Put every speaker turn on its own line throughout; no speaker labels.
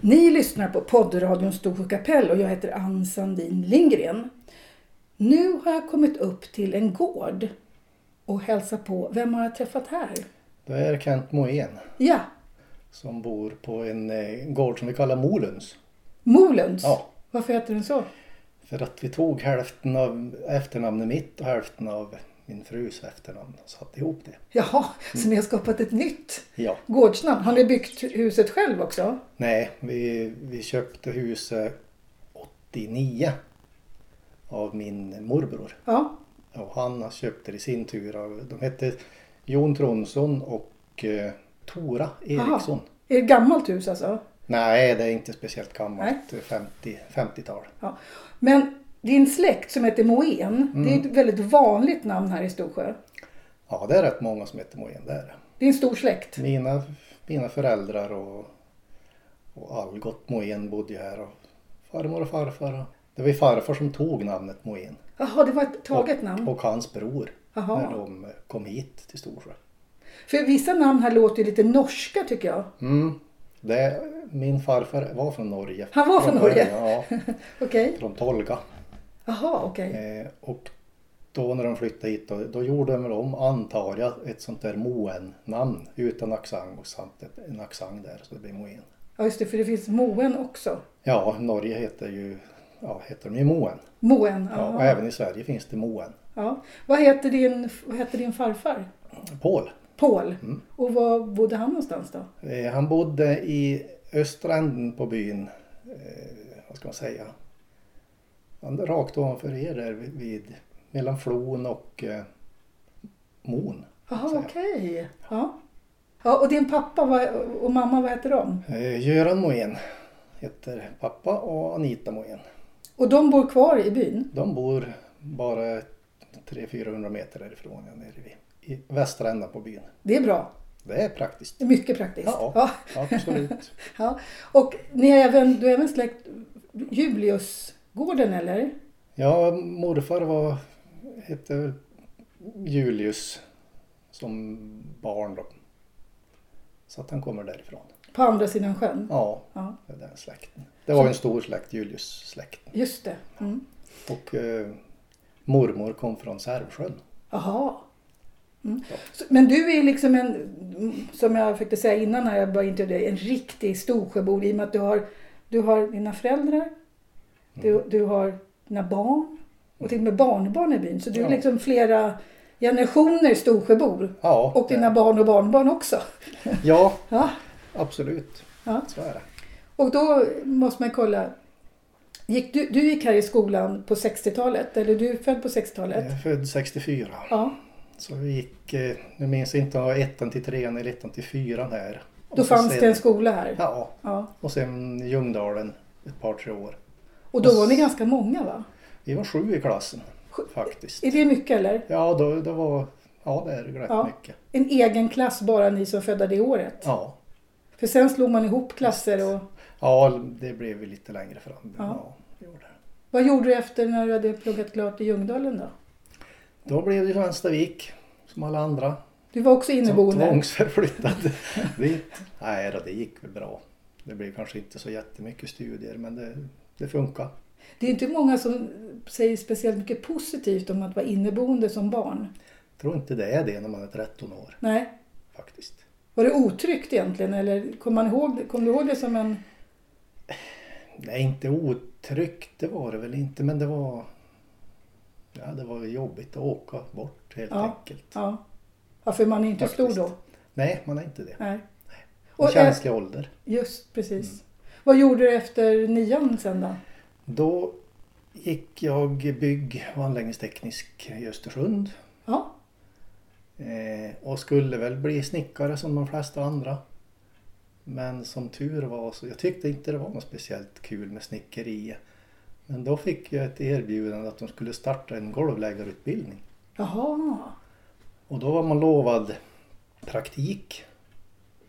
Ni lyssnar på poddradion Storsjö kapell och jag heter Ann Sandin Lindgren. Nu har jag kommit upp till en gård och hälsar på. Vem har jag träffat här?
Det är Kent Moen
Ja,
som bor på en eh, gård som vi kallar Molens.
Molens.
Ja.
Varför heter den så?
För att vi tog hälften av efternamnet mitt och hälften av min frus efternamn och satte ihop det.
Jaha, så ni har skapat ett nytt
Ja,
gårdsnamn. Har ni byggt huset själv också?
nej, vi, vi köpte huset 89 av min morbror.
Ja.
Och han köpte det i sin tur av, de hette Jon Tronsson och eh, Tora Eriksson.
Jaha. Är det ett gammalt hus alltså?
Nej, det är inte speciellt gammalt. 50, 50-tal.
Ja. Men din släkt som heter Moen, det är ett väldigt vanligt namn här i Storsjö.
Ja, det är rätt många som heter Moen där.
Det är en stor släkt.
Mina, mina föräldrar och, och Algot Moen bodde ju här och farmor och farfar. Och, det var ju farfar som tog namnet Moen
Jaha, det var ett taget namn.
och hans bror
Jaha.
när de kom hit till Storsjö.
För vissa namn här låter ju lite norska tycker jag.
Mm. Det, min farfar var från Norge.
Han var från Norge?
början, Ja,
Okej.
från Tolga.
Jaha, okej.
Eh, och då när de flyttade hit då, då gjorde de väl om, antar jag, ett sånt där Moen-namn utan accent och samt ett- en accent där så det blir Moen.
Ja, just det, för det finns Moen också.
Ja, Norge heter ju, ja, heter de ju Moen.
Moen.
Ja, och
Ja,
även i Sverige finns det Moen.
ja. Vad, heter din, vad heter din farfar?
Paul,
Paul.
Mm.
Och var bodde han någonstans då?
eh, han bodde i östra änden på byn, eh, vad ska man säga, han, rakt ovanför er där vid, vid mellan Flon och eh, Mon.
Jaha,
Så här.
okej. Ja. ja. Och din pappa vad, och mamma, vad heter de?
Eh, Göran Moen heter pappa och Anita Moen.
Och de bor kvar i byn?
De bor bara 300-400 meter därifrån, ja, nere vid, i västra änden på byn.
Det är bra.
Det är praktiskt.
Det är mycket praktiskt.
Ja, absolut.
Ja. Och ni har även, du har även släkt Juliusgården eller?
Ja, morfar var, hette väl Julius som barn då. Så att han kommer därifrån.
På andra sidan sjön?
Ja,
Ja,
det är den släkten. Det var ju en stor släkt, Julius-släkten.
just det. Mm.
Och eh, mormor kom från Särvsjön.
Jaha. Mm.
Ja.
Så, men du är liksom en, som jag försökte säga innan när jag började intervjua dig, en riktig Storsjöbo i och med att du har, du har dina föräldrar,
Mm.
du, du har dina barn och till och med barnbarn i byn. Så du är
Ja.
liksom flera generationer Storsjöbor.
Ja,
Och
det-
dina barn och barnbarn också.
ja
Ja,
absolut.
ja.
Så är det.
Och då måste man kolla. Gick du, du gick här i skolan på 60-talet, eller du är född på 60-talet?
Jag är född 64.
Ja.
Så vi gick, eh, nu minns jag inte om det var ettan till trean eller ettan till fyran här. Och
Då
så
fanns
sen-
det en skola här?
Ja,
Ja.
och sen Ljungdalen ett par tre år.
Och då var ni ganska många va?
Vi var sju i klassen
Sju-
faktiskt.
Är det mycket eller?
Ja, då, det var, ja det är rätt
Ja.
mycket.
En egen klass bara ni som födda det året?
Ja.
För sen slog man ihop klasser och...
ja, det blev vi lite längre fram.
Ja.
Ja. det gjorde det.
Vad gjorde du efter när du hade pluggat klart i Ljungdalen då?
Då blev det Vänstavik som alla andra.
Du var också
Som
inneboende?
tvångsförflyttad dit. Nej då, det gick väl bra. Det blev kanske inte så jättemycket studier men det, det funkar.
Det är inte många som säger speciellt mycket positivt om att vara inneboende som barn.
Jag tror inte det är det när man är 13 år
Nej.
faktiskt.
Var det otryggt egentligen eller kom, man ihåg, kom du ihåg det som en...
Nej, inte otryggt det var det väl inte men det var Ja, det var jobbigt att åka bort helt
Ja.
enkelt.
Ja. ja, för man är inte
Faktiskt.
stor då.
Nej, man är inte det.
Nej.
Och
Och, eh,
känslig ålder.
just precis. Vad gjorde du efter nian sen då?
Då gick jag bygg och anläggningsteknisk i Östersund
Ja,
eh, och skulle väl bli snickare som de flesta andra. Men som tur var så jag tyckte inte det var något speciellt kul med snickeri. Men då fick jag ett erbjudande att de skulle starta en golvläggarutbildning.
Jaha.
Och då var man lovad praktik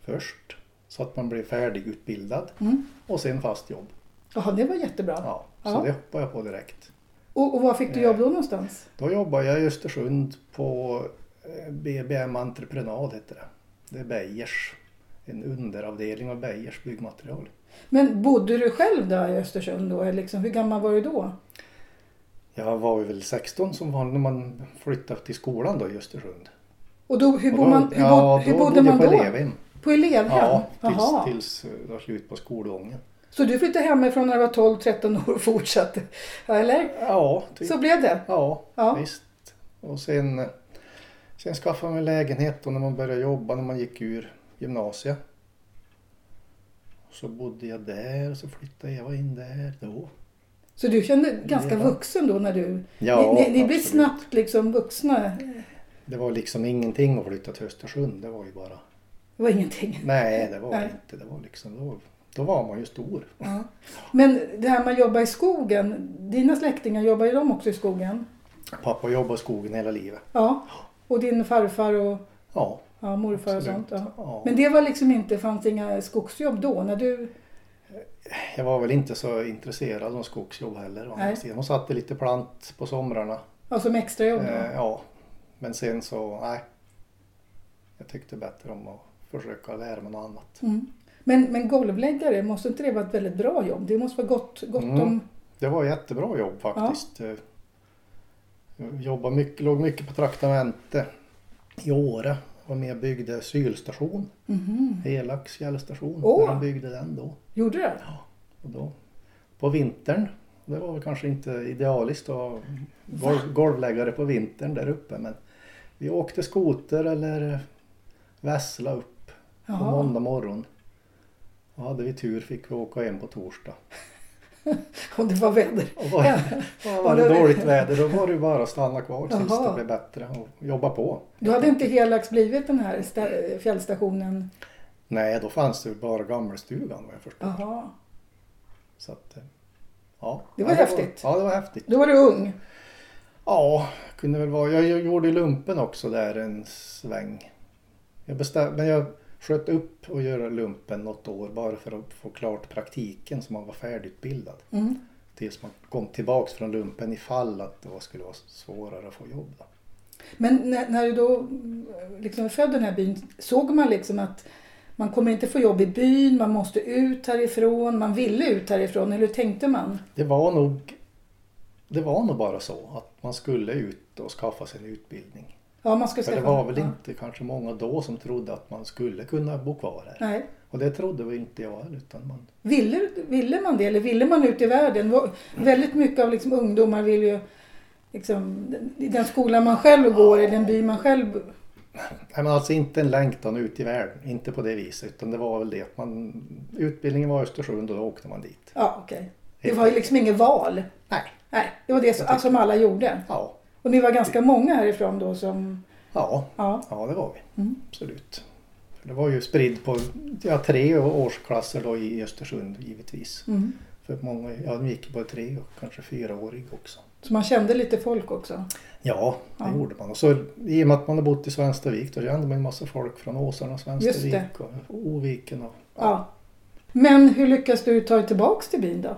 först så att man blev färdigutbildad
Mm.
och sen fast jobb.
Jaha, det var jättebra.
Ja, så
Ja.
det hoppade jag på direkt.
Och, och var fick du
Eh.
jobb då någonstans?
Då jobbade jag i Östersund på eh, BBM Entreprenad heter det. Det är Beijers en underavdelning av Beijers byggmaterial.
Men bodde du själv där i Östersund då? Eller Liksom, hur gammal var du då?
Jag var ju väl 16 som vanligt när man flyttade till skolan då i Östersund.
Och då, hur,
Och
bo
då-
man, hur,
ja,
bo, hur
då
bodde
bodde
man då?
jag på elevhem.
På elevhem?
Ja,
Jaha.
tills, tills eh, det var slut på skolgången.
Så du flyttade hemifrån när du var 12-13 år och fortsatte? Eller?
Ja, typ.
Så blev det?
ja,
Ja.
visst. Och sen, eh, sen skaffade man en lägenhet och när man började jobba, när man gick ur gymnasiet. Så bodde jag där och så flyttade Eva in där då.
Så du kände ganska
Ja.
vuxen då när du...
Ja,
ni ni, ni blir
absolut.
snabbt liksom vuxna.
Det var liksom ingenting att flytta till Östersund. Det var ju bara...
Det var ingenting.
Nej, det var
Nej.
inte. Det var liksom... Då, då var man ju stor.
Ja. Men det här med att jobba i skogen. Dina släktingar, jobbar ju de också i skogen?
Pappa jobbade i skogen hela livet.
Ja. Och din farfar och
Ja,
ja, morfar och
absolut.
sånt. Ja.
Ja.
Men det var liksom inte, fanns inga skogsjobb då? När du,
Jag var väl inte så intresserad av skogsjobb heller. å andra
Nej.
sidan. Hon satte lite plant på somrarna.
ja, alltså som extrajobb då?
Eh, ja. Men sen så, nej. Jag tyckte bättre om att försöka lära mig något annat.
Mm. Men, men golvläggare, måste inte det vara ett väldigt bra jobb? Det måste vara gott, gott
Mm.
om...
Det var jättebra jobb faktiskt. Eh, Jag jobbade mycket, låg mycket på traktamente i Åre. Var med och byggde sylstation,
Mhm.
Helags fjällstation.
Åh!
När de byggde den då.
Gjorde det?
Och då, på vintern, det var väl kanske inte idealiskt att ha golv, golvläggare på vintern där uppe men vi åkte skoter eller vässla upp på
Jaha.
måndag morgon. Och hade vi tur fick vi åka hem på torsdag.
Om det var väder.
Och var, var det dåligt väder då var det ju bara att stanna kvar tills
Jaha.
det blev bättre och jobba på.
Då hade inte Helax blivit den här stä- fjällstationen?
Nej, då fanns det ju bara gammelstugan vad jag förstår.
Jaha.
Så att, eh, ja.
Det var
Ja,
häftigt.
Ja, det var häftigt.
Då var du ung?
Ja, kunde väl vara. Jag gjorde lumpen också där en sväng. Jag bestäm, men jag sköt upp och göra lumpen något år bara för att få klart praktiken så man var färdigutbildad.
Mm.
Tills man kom tillbaks från lumpen ifall att det var- skulle vara svårare att få jobb. Då.
Men när, när du då mm, liksom är född i den här byn, såg man liksom att man kommer inte få jobb i byn, man måste ut härifrån, man ville ut härifrån, eller hur tänkte man?
Det var nog det var nog bara så att man skulle ut och skaffa sig en utbildning.
Ja, man skulle
För det
skaffa-
var väl
ja.
inte kanske många då som trodde att man skulle kunna bo kvar här.
Nej.
Och det trodde väl inte jag heller, utan man
Ville, ville man det eller ville man ut i världen? Var- Väldigt mycket av liksom ungdomar vill ju liksom, i den skola man själv går, i den by man själv...
Nej men alltså inte en längtan ut i världen, inte på det viset. Utan det var väl det att man, utbildningen var i Östersund och då åkte man dit.
Ja, okej. Det var ju liksom inget val.
Nej.
Nej, det var det som, som alla gjorde.
Ja,
Och ni var ganska många härifrån då som...
ja,
Ja.
ja det var vi.
Mm.
Absolut. För det var ju spridd på ja, tre årsklasser då i Östersund givetvis.
Mm.
För många, ja de gick ju bara tre och kanske fyraårig också.
Så man kände lite folk också.
Ja, det
Ja.
gjorde man. Och så i och med att man har bott i Svenstavik då kände man en massa folk från Åsarna och Svenstavik och Oviken. Och,
Ja. Men hur lyckas du ta dig tillbaks till byn då?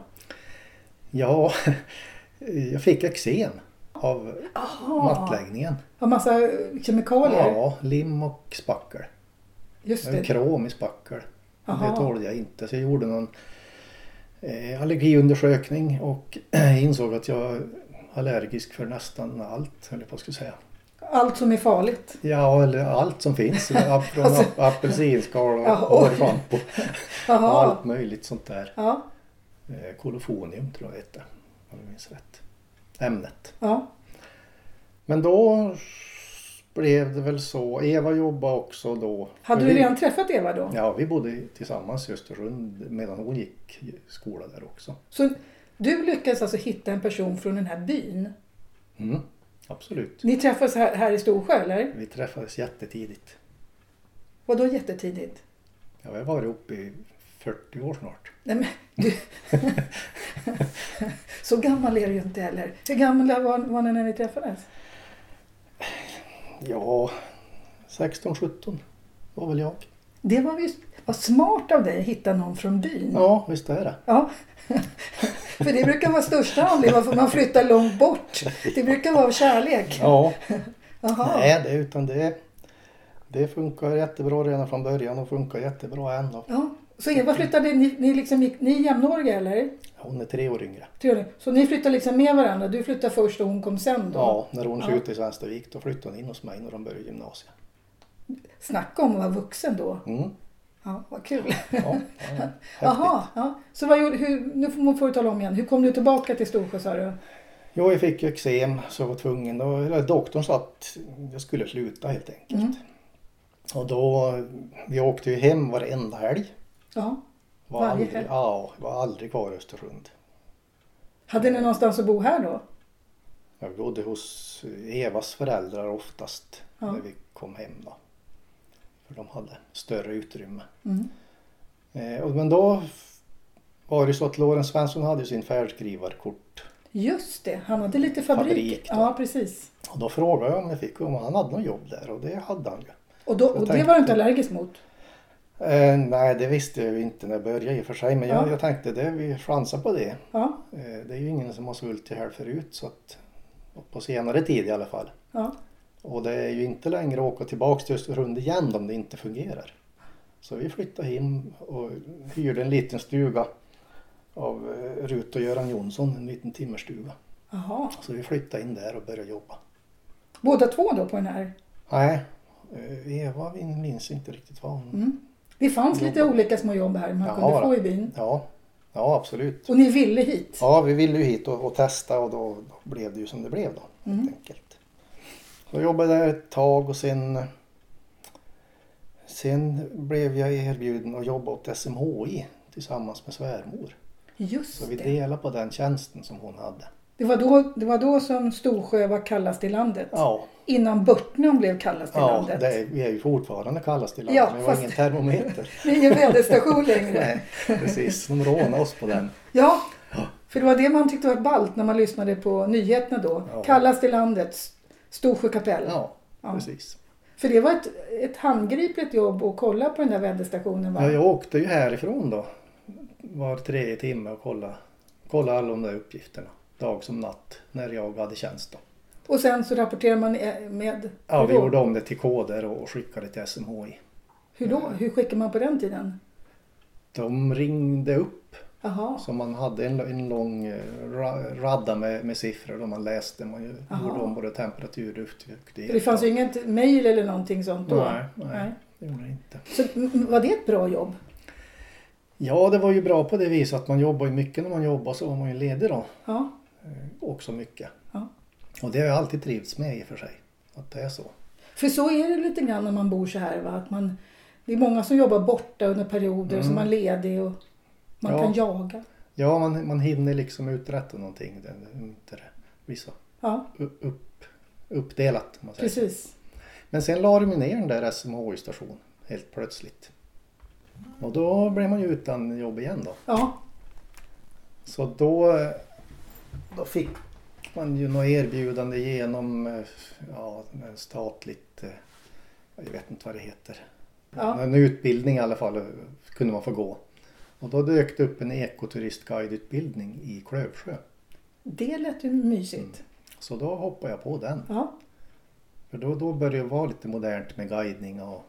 ja, jag fick eksem av
Jaha,
mattläggningen.
av massa eh, kemikalier?
Ja, lim och spackel.
Just
Jag har
det.
krom i spackel.
Jaha.
Det tålde jag inte så jag gjorde någon eh, allergiundersökning och insåg att jag är allergisk för nästan allt, höll jag på att skulle säga.
Allt som är farligt.
Ja, eller allt som finns. Ap- Från
Alltså-
ap- apelsinskal och
Ja, oj.
hårschampo. och
Jaha.
Allt möjligt sånt där.
Ja.
Eh, Kolofonium tror jag det hette, om jag minns rätt. Ämnet.
ja.
Men då blev det väl så. Eva jobbade också då.
Hade
För
du
vi-
redan träffat Eva då?
Ja, vi bodde tillsammans i Östersund medan hon gick i skola där också.
Så du lyckades alltså hitta en person från den här byn?
Mm, absolut.
Ni träffades här, här i Storsjö eller?
Vi träffades jättetidigt.
Vadå jättetidigt?
Jag har varit ihop i 40 år snart.
Nej men du... Så gammal är du ju inte heller. Hur gamla var, var ni när ni träffades?
Ja, 16, 17 var väl jag.
Det var ju vad smart av dig att hitta någon från byn.
Ja, visst är det.
Ja. För det brukar vara största anledningen varför man flyttar långt bort. Det brukar vara av kärlek.
Ja,
Jaha.
nej, det, utan det, Det funkar jättebra redan från början och funkar jättebra än. Och
Ja. Så Eva flyttade, ni, ni, liksom gick, ni är jämnåriga eller?
hon är tre år yngre.
Tre år. Så ni flyttade liksom med varandra? Du flyttade först och hon kom sen då?
Ja, när hon
Ja.
slutade i Svenstavik då flyttade hon in hos mig när de började gymnasiet.
Snacka om att vara vuxen då.
Mm.
Ja, vad kul.
Ja, ja, häftigt.
Jaha, ja. Så vad gjorde, hur, nu får får du tala om igen. Hur kom du tillbaka till Storsjö sa du? Mm.
Jo, jag fick ju eksem så jag var tvungen. Och, eller, doktorn sa att jag skulle sluta helt enkelt.
Mm.
Och då, vi åkte ju hem varenda helg.
Ja.
Var
Varje
aldrig,
helg?
Ja, var aldrig kvar i Östersund.
Hade ni någonstans att bo här då?
Jag bodde hos Evas föräldrar oftast
Ja.
när vi kom hem. Då. För de hade större utrymme.
Mm.
Eh, och, men då f- var det så att Lorenz Svensson hade ju sin färdskrivarkort.
Just det, han hade lite fabrik.
Fabrik då.
ja, precis.
Och då frågade jag om jag fick om han hade något jobb där och det hade han ju.
Och, då,
Jag
och det
tänkte-
var du inte allergisk mot?
Eh, nej, det visste jag ju inte när jag började i och för sig. Men
Ja.
jag, jag tänkte det, vi chansar på det.
Ja,
Eh, det är ju ingen som har svullt i här förut. Så att, och på senare tid i alla fall.
ja.
Och det är ju inte längre att åka tillbaks till Östersund igen om det inte fungerar. Så vi flyttade hem och hyrde en liten stuga av eh, Rut och Göran Jonsson, en liten timmerstuga.
Jaha.
Så vi flyttade in där och började jobba.
Båda två då på den här?
Nej, eh, Eva vi minns inte riktigt vad hon...
Mm. Det fanns lite
Jobba.
olika små jobb här man
Jaha,
kunde få
då.
i byn.
Ja, ja absolut.
Och ni ville hit?
Ja, vi ville ju hit och, och testa och då, då blev det ju som det blev då.
Mm.
helt enkelt. Så jag jobbade där ett tag och sen sen blev jag erbjuden att jobba åt SMHI tillsammans med svärmor. Så
Just
vi
det.
delade på den tjänsten som hon hade.
Det var, då, det var då som Storsjö var kallast i landet.
Ja,
Innan Börtnan blev kallast i
ja
landet.
det är, vi är ju fortfarande kallas till
Ja,
landet, men det var
fast-
ingen termometer.
Det är ingen väderstation längre.
Nej, precis, de rånade oss på den.
Ja, för det var det man tyckte var ballt när man lyssnade på nyheterna då.
Ja.
Kallast i landet, Storsjö kapell.
Ja,
Ja.
precis.
För det var ett, ett handgripligt jobb att kolla på den där väderstationen va?
Ja, jag åkte ju härifrån då var tredje timme och kollade kolla alla de där uppgifterna dag som natt när jag hade tjänst. Då.
Och sen så rapporterar man eh, med...
Ja,
hur
vi
då?
gjorde om det till koder och och skickade till SMHI.
Hur då? Hur skickar man på den tiden?
De ringde upp,
Jaha.
så man hade en, en lång eh, ra- radda med, med siffror och man läste. Man ju-
Aha.
gjorde om både temperatur, lufttryck,
För det fanns ju inget mejl eller någonting sånt då.
Nej, nej,
Nej.
det gjorde det inte.
Så m- m- var det ett bra jobb?
Ja, det var ju bra på det viset att man jobbar ju mycket när man jobbar så var man ju ledig då eh,
Ja.
också mycket.
Ja.
Och det har jag alltid trivts med i och för sig, att det är så.
För så är det lite grann när man bor så här va? Att man, det är många som jobbar borta under perioder så
Mm.
man är ledig och man
Ja.
kan jaga.
Ja, man, man hinner liksom uträtta någonting. Det, det, inte det blir så
Ja,
u- upp, uppdelat. Om man säger.
precis.
Men sen la de ju ner den där SMHI-stationen helt plötsligt. Och då blev man ju utan jobb igen då.
Ja,
Så då, då fick man ju något erbjudande genom eh, ja, en statligt, eh, jag vet inte vad det heter,
Ja.
en utbildning i alla fall eh, kunde man få gå. Och då dök det upp en ekoturistguideutbildning i Klövsjö.
det lät ju mysigt.
Mm. Så då hoppade jag på den.
Ja,
För då, då började det vara lite modernt med guidning och,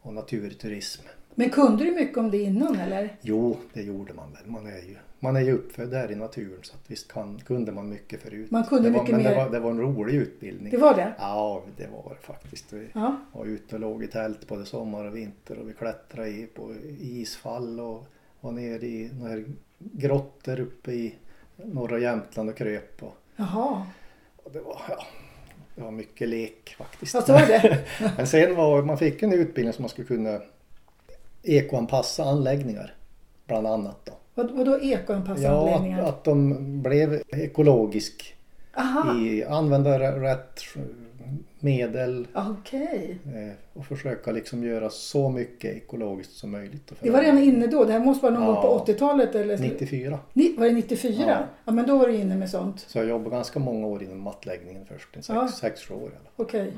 och naturturism.
men kunde du mycket om det innan eller?
Jo, det gjorde man väl. Man är ju, man är ju uppfödd där i naturen så att visst kan, kunde man mycket förut.
Man kunde
det var,
mycket
men
mer.
Det var, det var en rolig utbildning.
Det var det?
Ja, det var det faktiskt. Vi
Ja,
var ute och låg i tält både sommar och vinter och vi klättrade i, på isfall och var nere i några grottor uppe i norra Jämtland och kröp. Och,
jaha.
och det, var, ja, det var mycket lek faktiskt.
Fast var det?
Men sen var, man fick en utbildning som man skulle kunna ekoanpassa anläggningar bland annat. Då.
Vad, vadå
Ja,
ekoanpassningsanläggningar?
att, att de blev ekologisk
Aha,
i använda r- rätt medel
okej.
eh, och försöka liksom göra så mycket ekologiskt som möjligt. och
Det var redan
förändra.
inne då? Det här måste vara någon gång
Ja.
på 80-talet eller?
94.
Ni, var det 94? Ja.
Ja.
men då var du inne med sånt.
Så jag jobbade ganska många år inom mattläggningen först, en sex,
Ja.
sex sju år i alla fall.
Okej.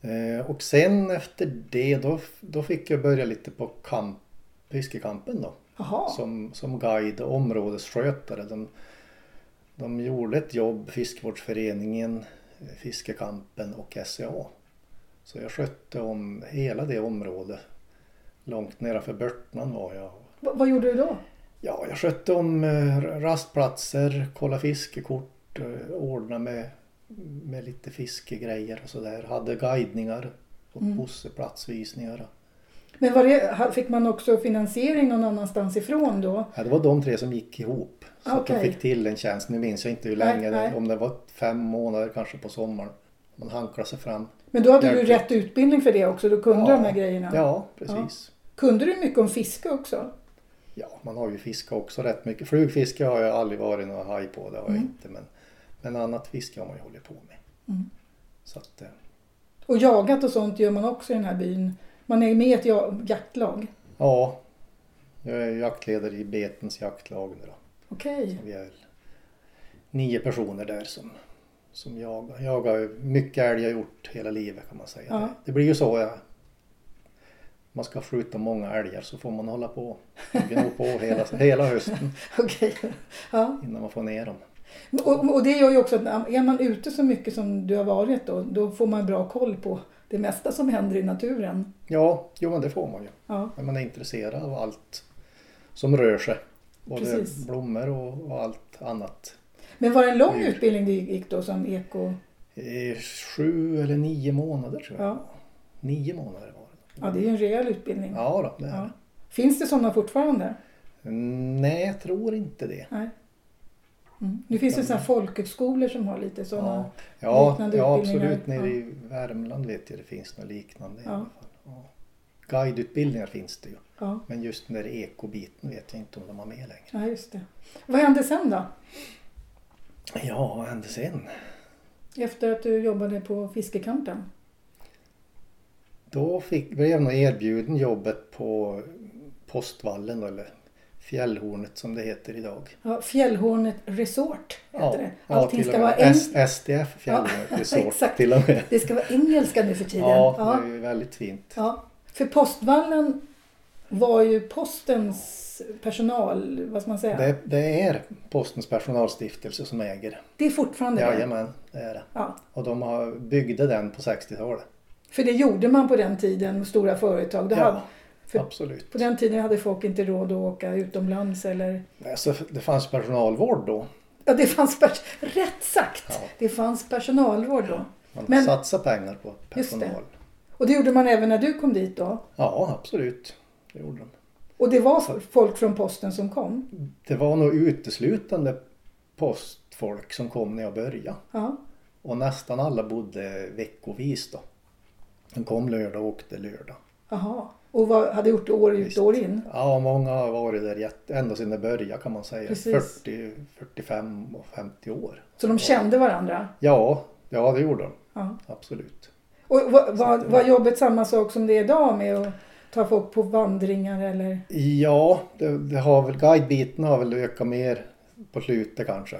Eh, och sen efter det då, då fick jag börja lite på kamp, fiskekampen då.
Jaha.
som, som guide och områdesskötare. De, de gjorde ett jobb, Fiskevårdsföreningen, Fiskekampen och SCA. E Så jag skötte om hela det området. Långt nedanför Börtnan var jag.
Va- vad gjorde du då?
Ja, jag skötte om eh, rastplatser, kolla fiskekort, eh, ordna med, med lite fiskegrejer och sådär. Hade guidningar och
Mm.
pusseplatsvisningar.
Men var det, ha- fick man också finansiering någon annanstans ifrån då?
Ja, det var de tre som gick ihop. Så att de
Okej.
fick till en tjänst. Nu minns jag inte hur
Nej,
länge,
nej.
om det var fem månader kanske på sommaren. Man hanklade sig fram.
Men då hade du
Verkligen.
rätt utbildning för det också, då kunde du
Ja.
de här grejerna.
Ja, precis.
Kunde du mycket om fiske också?
Ja, man har ju fiskat också rätt mycket. Flugfiske har jag aldrig varit någon haj på, det har jag
Mm.
inte. Men, men annat fiske har man ju hållit på med.
Mm.
Så att, eh,
Och jagat och sånt gör man också i den här byn. Man är med i ett ja- jaktlag.
ja, jag är jaktledare i Betens jaktlag nu då.
Okej.
Vi är väl nio personer där som, som jagar. Jag har ju mycket älg jag gjort hela livet kan man säga.
Ja.
Det, det blir ju så. Ja. Man ska skjuta många älgar så får man hålla på. Gno på hela, hela hösten
Okej. Ja.
innan man får ner dem.
Och, och det gör ju också att är man ute så mycket som du har varit då, då får man bra koll på det mesta som händer i naturen.
Ja, jo men det får man ju.
Ja.
När man är intresserad av allt som rör sig. Både
Precis.
blommor och, och allt annat.
Men var det en lång
Mm.
utbildning du gick då som eko?
Eh, Sju eller nio månader tror jag.
Ja.
Nio månader var det.
Ja, det är ju en rejäl utbildning.
Ja, då, det är
Ja. Finns det sådana fortfarande?
det. Nej, jag tror inte det.
Nej. Mm. Nu finns det sådana här folkhögskolor som har lite sådana.
Ja, ja,
liknande
ja
utbildningar.
absolut. Nere
Ja.
i Värmland vet jag det finns något liknande i
Ja.
alla fall. Ja. Guideutbildningar finns det ju.
Ja.
Men just den där ekobiten vet jag inte om de har med längre.
ja, just det. Vad hände sen då?
Ja, vad hände sen?
Efter att du jobbade på fiskekampen?
Då fick, blev jag nog erbjuden jobbet på Postvallen då, eller Fjällhornet som det heter idag.
Ja, Fjällhornet Resort heter det. Allting
till och
ska
med
vara eng-
S- SDF Fjällhornet Resort
exakt.
till och med.
det ska vara engelska nu för tiden.
Ja,
Ja.
det är ju väldigt fint.
Ja. För postvallen var ju postens personal, vad ska man säga? Det,
Det, det är Postens personalstiftelse som äger det.
är fortfarande det.
Jajamän, det är det.
Ja.
Och de har byggde den på 60-talet.
För det gjorde man på den tiden, stora företag. Det hade,
Ja,
för-
absolut.
på den tiden hade folk inte råd att åka utomlands eller...
Alltså, det fanns personalvård då.
Ja, det fanns... Pers- Rätt sagt!
Ja.
Det fanns personalvård då.
Man
Men-
satsade pengar på
Just det.
personal.
Och det gjorde man även när du kom dit då.
Ja, absolut. Det gjorde de.
Och det var folk från posten som kom.
Det var nog uteslutande postfolk som kom när jag började.
Ja.
Och nästan alla bodde veckovis då. De kom lördag och åkte lördag.
Jaha. Och vad, hade gjort år ut
Visst.
och år in?
Ja, många har varit där jätte- ända sedan det började kan man säga.
Precis.
40, 45 och 50 år.
Så de kände varandra?
Ja, ja det gjorde de.
Ja.
Absolut.
Och var, var, var jobbet samma sak som det är idag med att ta folk på vandringar eller?
Ja, det, det har väl, guidebiten har väl ökat mer på slutet kanske.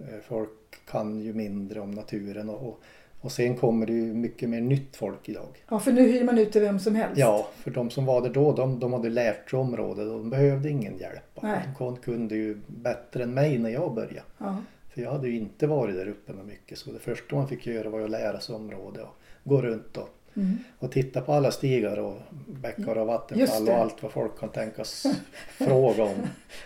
Eh, Folk kan ju mindre om naturen och, och, och sen kommer det ju mycket mer nytt folk idag.
Ja, för nu hyr man ut till vem som helst.
Ja, för de som var där då, de, de hade lärt sig området och de behövde ingen hjälp.
Nej.
De kon- kunde ju bättre än mig när jag började.
Ja.
För jag hade ju inte varit där uppe med mycket så det första man fick göra var ju att lära sig området och gå runt och,
Mm.
och titta på alla stigar och bäckar och vattenfall
Just det.
och allt vad folk kan tänkas fråga om.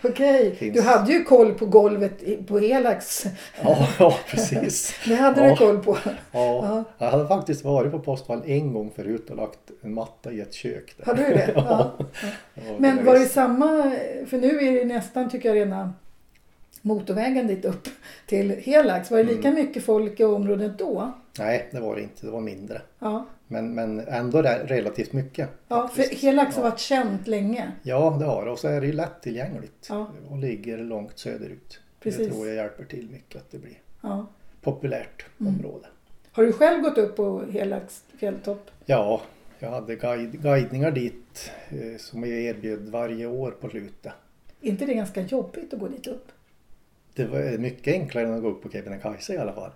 Okej,
Finns.
du hade ju koll på golvet i- på Helax.
Ja, ja precis.
Det hade du
Ja.
koll på.
Ja. Jag hade faktiskt varit på Postvall en gång förut och lagt en matta i ett kök. Där.
Har du det? Ja.
Det var
Men
väl
var det
visst.
samma, för nu är det nästan tycker jag rena motorvägen dit upp till Helax. Var det lika
Mm.
mycket folk i området då?
Nej, det var det inte. Det var mindre.
Ja,
Men, men ändå re- relativt mycket.
ja för liksom
faktiskt.
Helax har
Ja.
varit känt länge.
Ja, det har det. Och så är det ju lättillgängligt
Ja.
och ligger långt söderut.
Precis.
Det tror jag hjälper till mycket att det blir
Ja.
populärt
Mm.
område.
Har du själv gått upp på Helax fjälltopp?
Ja, jag hade guide, guidningar dit eh, som jag erbjöd varje år på slutet.
Är inte det ganska jobbigt att gå dit upp?
Det var eh, mycket enklare än att gå upp på Kebnekaise i alla fall.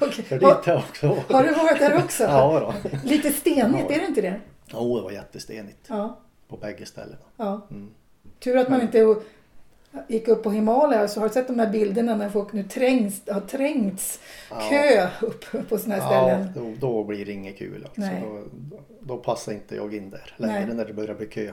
Okej.
För dit
Har,
har jag också varit.
har du varit där också?
Ja, då.
Lite stenigt, är det inte det?
Åh, det var jättestenigt
Ja,
på bägge ställena.
ja.
Mm.
Tur att man inte gick upp på Himalaya så har du sett de här bilderna när folk nu trängs, har trängts kö upp på såna här
Ja,
ställen.
då, då blir det inget kul. Alltså.
Nej.
Då, då passar inte jag in där längre
Nej.
när det börjar bli kö.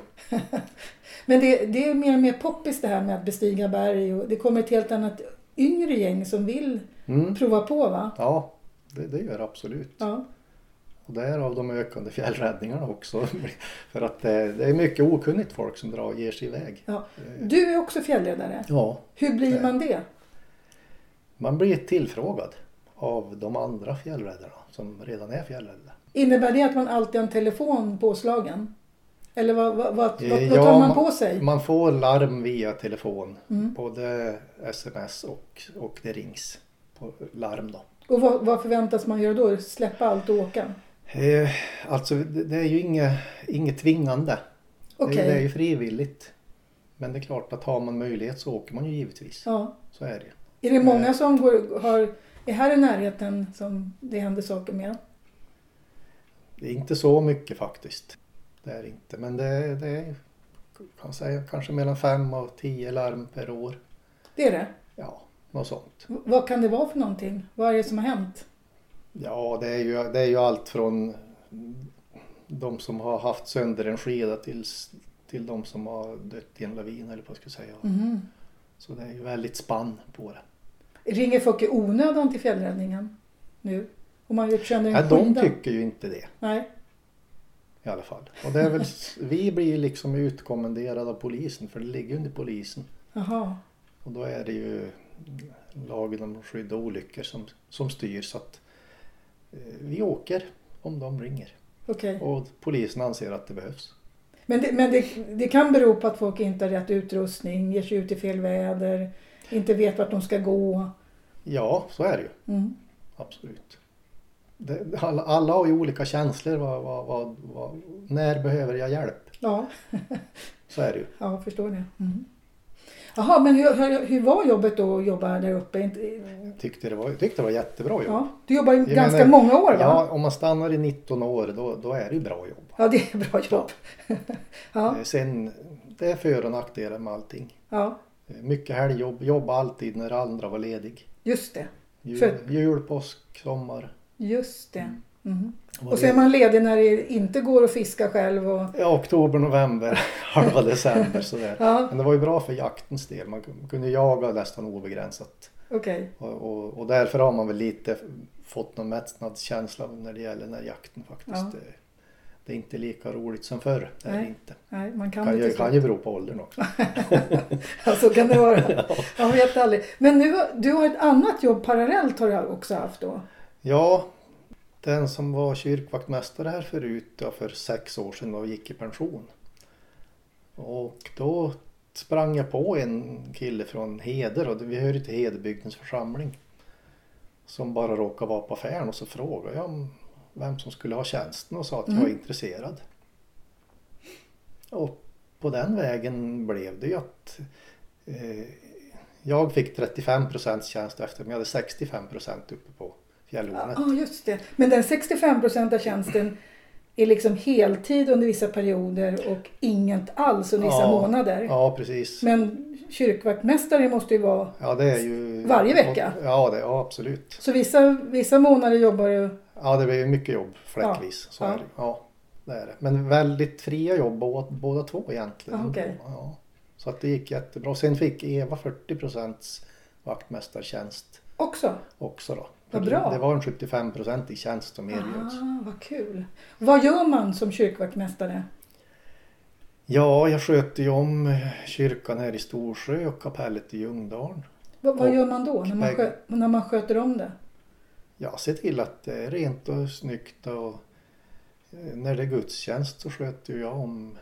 Men det, det är mer och mer poppis det här med att bestiga berg och det kommer ett helt annat yngre gäng som vill
Mm.
prova på va?
Ja, det, det gör det absolut.
Ja,
Och därav de ökande fjällräddningarna också. För att eh, det, det är mycket okunnigt folk som drar och ger sig iväg.
ja. Du är också fjällräddare.
Ja,
Hur blir man det?
man blir tillfrågad av de andra fjällräddarna som redan är fjällräddare.
Innebär det att man alltid har en telefon påslagen? Eller vad, vad, vad, vad,
Eh,
vad
ja,
tar man på sig?
Man får larm via telefon,
Mm.
både sms och, och det rings på larm då.
Och vad, vad förväntas man göra då? Släppa allt och åka?
Eh, Alltså det det är ju inget, inget tvingande. Det, är,
Okej.
det är ju frivilligt. Men det är klart att har man möjlighet så åker man ju givetvis.
Ja.
Så är det ju.
Är det många som går, har, är här i närheten som det händer saker med?
Det är inte så mycket faktiskt. Det är det inte. Men det, det är kan säga, kanske mellan fem och tio larm per år.
Det är det.
Ja, något sånt.
V- Vad kan det vara för någonting? Vad är det som har hänt?
Ja, det är ju, det är ju allt från de som har haft sönder en skeda till, till de som har dött i en lavin eller vad jag ska säga.
Mhm.
Så det är ju väldigt spann på det.
Ringer folk i onödan till fjällräddningen nu? Om man har gjort sönder en
Nej, de
skida?
tycker ju inte det
Nej.
i alla fall. Och det är väl, vi blir ju liksom utkommenderade av polisen för det ligger under polisen.
Jaha.
Och då är det ju lagen om skydd och olyckor som, som styr så att eh, vi åker om de ringer.
Okej.
Och polisen anser att det behövs.
Men, det, men det, det kan bero på att folk inte har rätt utrustning, ger sig ut i fel väder, inte vet vart de ska gå.
Ja, så är det ju.
Mm.
Absolut. Det, alla, alla har ju olika känslor. Vad, vad, vad, vad, när behöver jag hjälp?
Ja,
Så är det ju.
ja, jag förstår det. Mm. Jaha, men hur, hur, hur var jobbet då att jobba där uppe? Inte-
Jag tyckte det var, jag tyckte det var jättebra jobb.
Ja, du jobbar ju
Jag
ganska
menar-
många år va?
Ja, om man stannar i 19 år då, då är det ju bra jobb.
Ja, det är bra jobb. Ja,
Eh, Sen, det är för och nackdelar med allting.
ja
Eh, Mycket helgjobb, jobba alltid när andra var ledig.
just det.
Jul,
För-
jul påsk, sommar.
Just det. Mhm.
Var
Och så är
ledig.
man ledig när det inte går att fiska själv och...
Ja, oktober, november, halva december sådär.
Ja,
Men det var ju bra för jaktens del. Man kunde jaga nästan obegränsat.
okej.
Och, och, och därför har man väl lite fått någon mättnadskänsla när det gäller när jakten faktiskt.
Ja.
Det, det är inte lika roligt som förr. Det är det
Nej.
inte.
Nej, man kan,
Kan
inte
ju,
fiska.
kan ju bero på åldern också.
Ja, så kan det vara. Man vet aldrig. Men nu, har- du har ett annat jobb parallellt har du också haft då?
Ja, den som var kyrkvaktmästare här förut ja, för sex år sedan och gick i pension. Och då sprang jag på en kille från Heder och vi hör ju till Hederbygdens församling. Som bara råkade vara på affären och så frågade jag om vem som skulle ha tjänsten och sa att jag är
Mm.
intresserad. Och på den vägen blev det ju att eh, jag fick 35 procents tjänst efter men jag hade 65 procent uppe på
Ja,
fjällhornet.
ah, just det. Men den 65 procenta tjänsten är liksom heltid under vissa perioder och inget alls under vissa
Ja,
månader.
Ja, precis.
Men kyrkvaktmästare måste ju vara...
Ja, det är ju...
Varje vecka?
Ja, det, ja absolut.
Så vissa, vissa månader jobbar du...
Ja, det blir ju mycket jobb fläckvis. Så
Ja.
Är det. ja, det är det. Men väldigt fria jobb båda, båda två egentligen.
Ja, Ah, okej.
Ja. Så att det gick jättebra. Sen fick Eva 40 procents vaktmästartjänst
Också?
också då.
Vad bra.
Det var en 75 procentig tjänst som erbjöds.
Ah, vad kul. Vad gör man som kyrkvaktmästare?
Ja, jag sköter ju om eh, kyrkan här i Storsjö och kapellet i Ljungdalen.
Va, vad
Och-
gör man då när man, skö, när man sköter om det?
Ja, se till att det är rent och snyggt och eh, när det är gudstjänst så sköter ju jag om,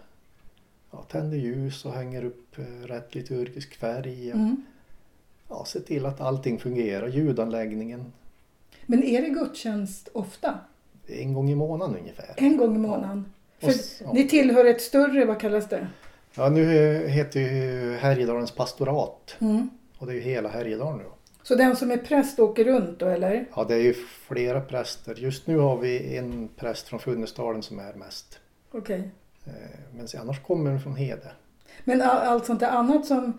ja, tänder ljus och hänger upp eh, rätt liturgisk färg. och-
Mm.
Ja, se till att allting fungerar, ljudanläggningen
Men är det gudstjänst ofta?
en gång i månaden ungefär.
En gång i månaden?
Och s-
Eh, För ni tillhör ett större, vad kallas det?
Ja, nu eh, heter ju Härjedalens pastorat
Mm.
och det är ju hela Härjedalen nu.
Så den som är präst åker runt då eller?
Ja, det är ju flera präster. Just nu har vi en präst från Funäsdalen som är mest.
Okej.
Eh, Men se, annars kommer den från Hede.
Men a- allt sånt där annat som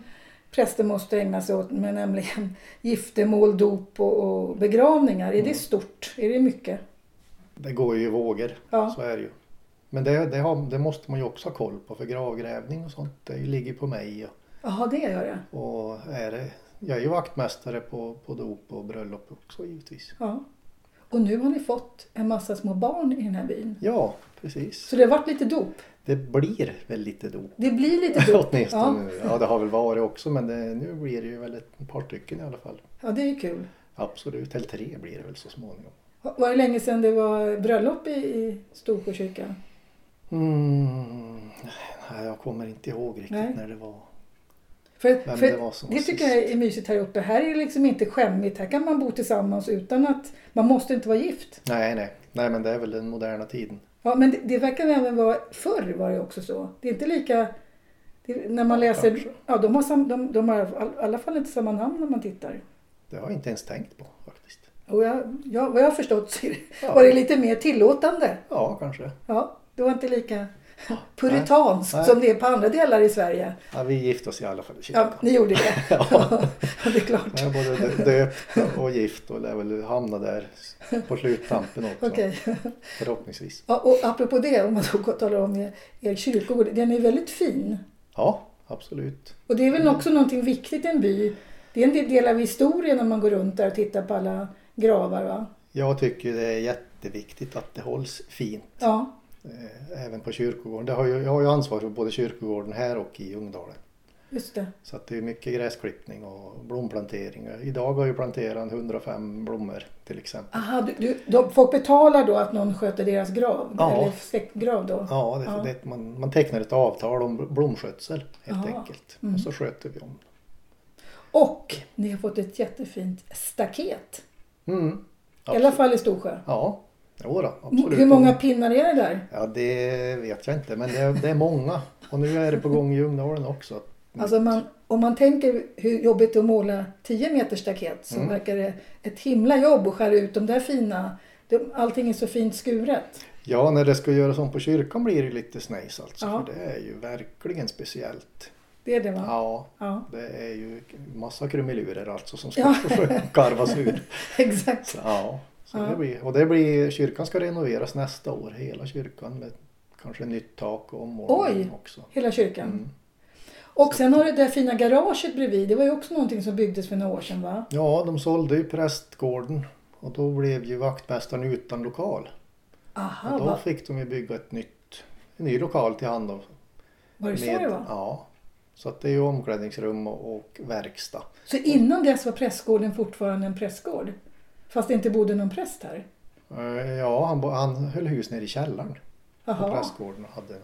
präster måste ägna sig åt, men nämligen giftermål, dop och, och begravningar.
Mm.
Är det stort? Är det mycket?
Det går ju i vågor,
Ja.
så är det ju. Men det, det, har, det måste man ju också ha koll på för gravgrävning och sånt det ligger på mig.
Jaha, det gör det.
Och, och är det, jag är ju vaktmästare på, på dop och bröllop också givetvis.
Ja. Och nu har ni fått en massa små barn i den här byn.
Ja, precis.
Så det har varit lite dop.
Det blir väl lite dop.
Det blir lite dop.
Åtminstone. Ja. ja, det har väl varit också men det, nu blir det ju väl ett par stycken i alla fall.
Ja, det är ju kul.
Absolut, eller tre blir det väl så småningom.
Var det länge sedan det var bröllop i, i Storsjökyrkan?
Mm, nej, jag kommer inte ihåg riktigt
Nej.
när det var.
För,
Vem
för
det var som var
det tycker jag är mysigt här uppe. Här är det liksom inte skämmigt. Här kan man bo tillsammans utan att... Man måste inte vara gift.
Nej, nej. Nej, men det är väl den moderna tiden.
Ja, men det, det verkar även vara... Förr var det också så. Det är inte lika... Det, när man
Ja,
läser...
kanske.
Ja, de har, sam, de, de har i all- alla fall inte samma namn när man tittar.
Det har jag inte ens tänkt på faktiskt.
Och jag, jag, vad jag har förstått så är det-
Ja.
var det lite mer tillåtande.
Ja, kanske.
Ja, det var inte lika puritanskt
Nej.
som det är på andra delar i Sverige.
Ja, vi gifte oss i alla fall i
Ja,
kyrkan.
ni gjorde det.
Ja.
Ja, det är klart.
Jag är både döpt och gift och lär väl hamna där på sluttampen också.
Okej.
Förhoppningsvis.
Ja, och apropå det, om man då talar om er- er kyrkogård, den är väldigt fin.
Ja, absolut.
Och det är väl också någonting viktigt i en by. Det är en del av historien om man går runt där och tittar på alla gravar. Va?
Jag tycker det är jätteviktigt att det hålls fint.
Ja,
eh, Även på kyrkogården. Det har ju, jag har ju ansvar för både kyrkogården här och i Ljungdalen.
just det.
Så att det är mycket gräsklippning och blomplantering. Idag har jag planterat 105 blommor till exempel.
Aha, du, du, de, folk betalar då att någon sköter deras grav?
Ja.
Eller släktgrav då?
Ja, det,
Ja.
Det, man, man tecknar ett avtal om blomskötsel helt
Ja.
enkelt. Och så sköter vi om.
Och ni har fått ett jättefint staket.
Mm.
I alla fall i Storsjö.
Ja, jodå,
M-
absolut.
Hur många pinnar är det där?
Ja, det vet jag inte, men det är, det är många. Och nu är det på gång i Ljungdalen också.
Alltså man, om man tänker hur jobbigt det är att måla 10 meter staket
Mm.
så verkar det ett himla jobb att skära ut de där fina. De, allting är så fint skuret.
Ja, när det ska göras om på kyrkan blir det lite snejs alltså.
Ja.
För det är ju verkligen speciellt.
Det är det va?
Ja,
Ja,
det är ju massa krumelurer alltså som ska
Ja.
karvas ur.
exakt.
Så, ja. Så
Ja.
Det blir, och det blir, kyrkan ska renoveras nästa år, hela kyrkan med kanske nytt tak och ommålning
Oj!
också.
Hela kyrkan.
Mm.
Och sen har du det där fina garaget bredvid. Det var ju också någonting som byggdes för några år sedan va?
Ja, de sålde ju prästgården och då blev ju vaktmästaren utan lokal.
Aha,
Och då
Ah, va?
fick de ju bygga ett nytt, en ny lokal till hand. Av,
var det så det var?
ja. Så att det är ju omklädningsrum och, och verkstad.
Så innan dess var prästgården fortfarande en prästgård? Fast det inte bodde någon präst här?
Eh, Ja, han, bo- han höll hus nere i källaren på
Jaha.
prästgården. Och hade någon.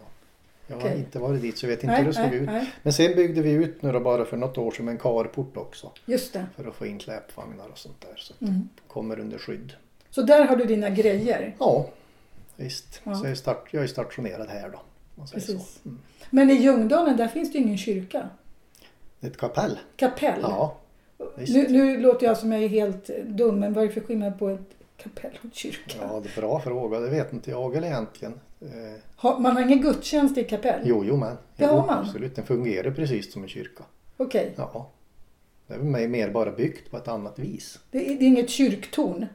Jag har
Okej.
inte varit dit så jag vet inte
Nej,
hur det såg
nej,
ut.
nej.
Men sen byggde vi ut nu då bara för något år sedan en carport också.
Just det.
För att få in släpvagnar och sånt där. Så att
Mm.
det kommer under skydd.
Så där har du dina grejer.
Ja, visst.
Ja.
Så jag är, start, jag är stationerad här då. om Man säger så. Mm.
Precis. Men i Ljungdalen där finns det ju ingen kyrka.
Det är ett kapell.
Kapell.
Ja, visst.
nu, nu låter jag som jag är helt dum, men vad är det för skillnad på ett kapell och en kyrka?
ja, det är bra fråga. Det vet inte jag eller egentligen. Eh,
Har- man har ingen gudstjänst i kapell?
jo, jo men.
Det har
Jo,
man.
Absolut, den fungerar precis som en kyrka.
Okej,
Ja. Det är väl mer- mer bara byggt på ett annat vis.
det, är- det är inget kyrktorn?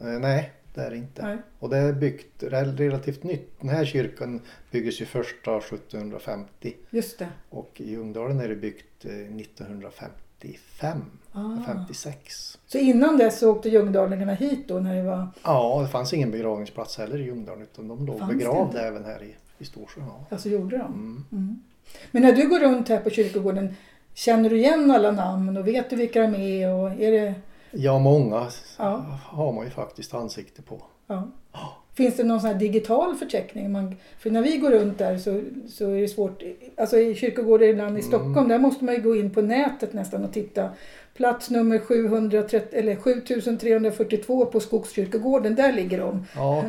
Eh, nej, det är det inte.
Nej.
Och det är byggt rel- relativt nytt. Den här kyrkan byggdes ju första 1750
Just det.
och i Ljungdalen är det byggt eh, 1955,
Ah.
56.
Så innan dess så åkte ljungdalingarna hit då när det var...
Ja, det fanns ingen begravningsplats heller i Ljungdalen utan de låg
Fanns det
begravda
inte?
även här i, i Storsjö. Ja.
Alltså gjorde de?
Mm.
Mm. Men när du går runt här på kyrkogården, känner du igen alla namn och vet du vilka de är? Och är det,
ja, många
Ja.
har man ju faktiskt ansikte på.
ja. Finns det någon sån här digital förteckning? Man, för när vi går runt där så, så är det svårt. Alltså i kyrkogårdar ibland i
Mm.
Stockholm, där måste man ju gå in på nätet nästan och titta. Plats nummer 730, eller 7342 på Skogskyrkogården, där ligger de.
Ja,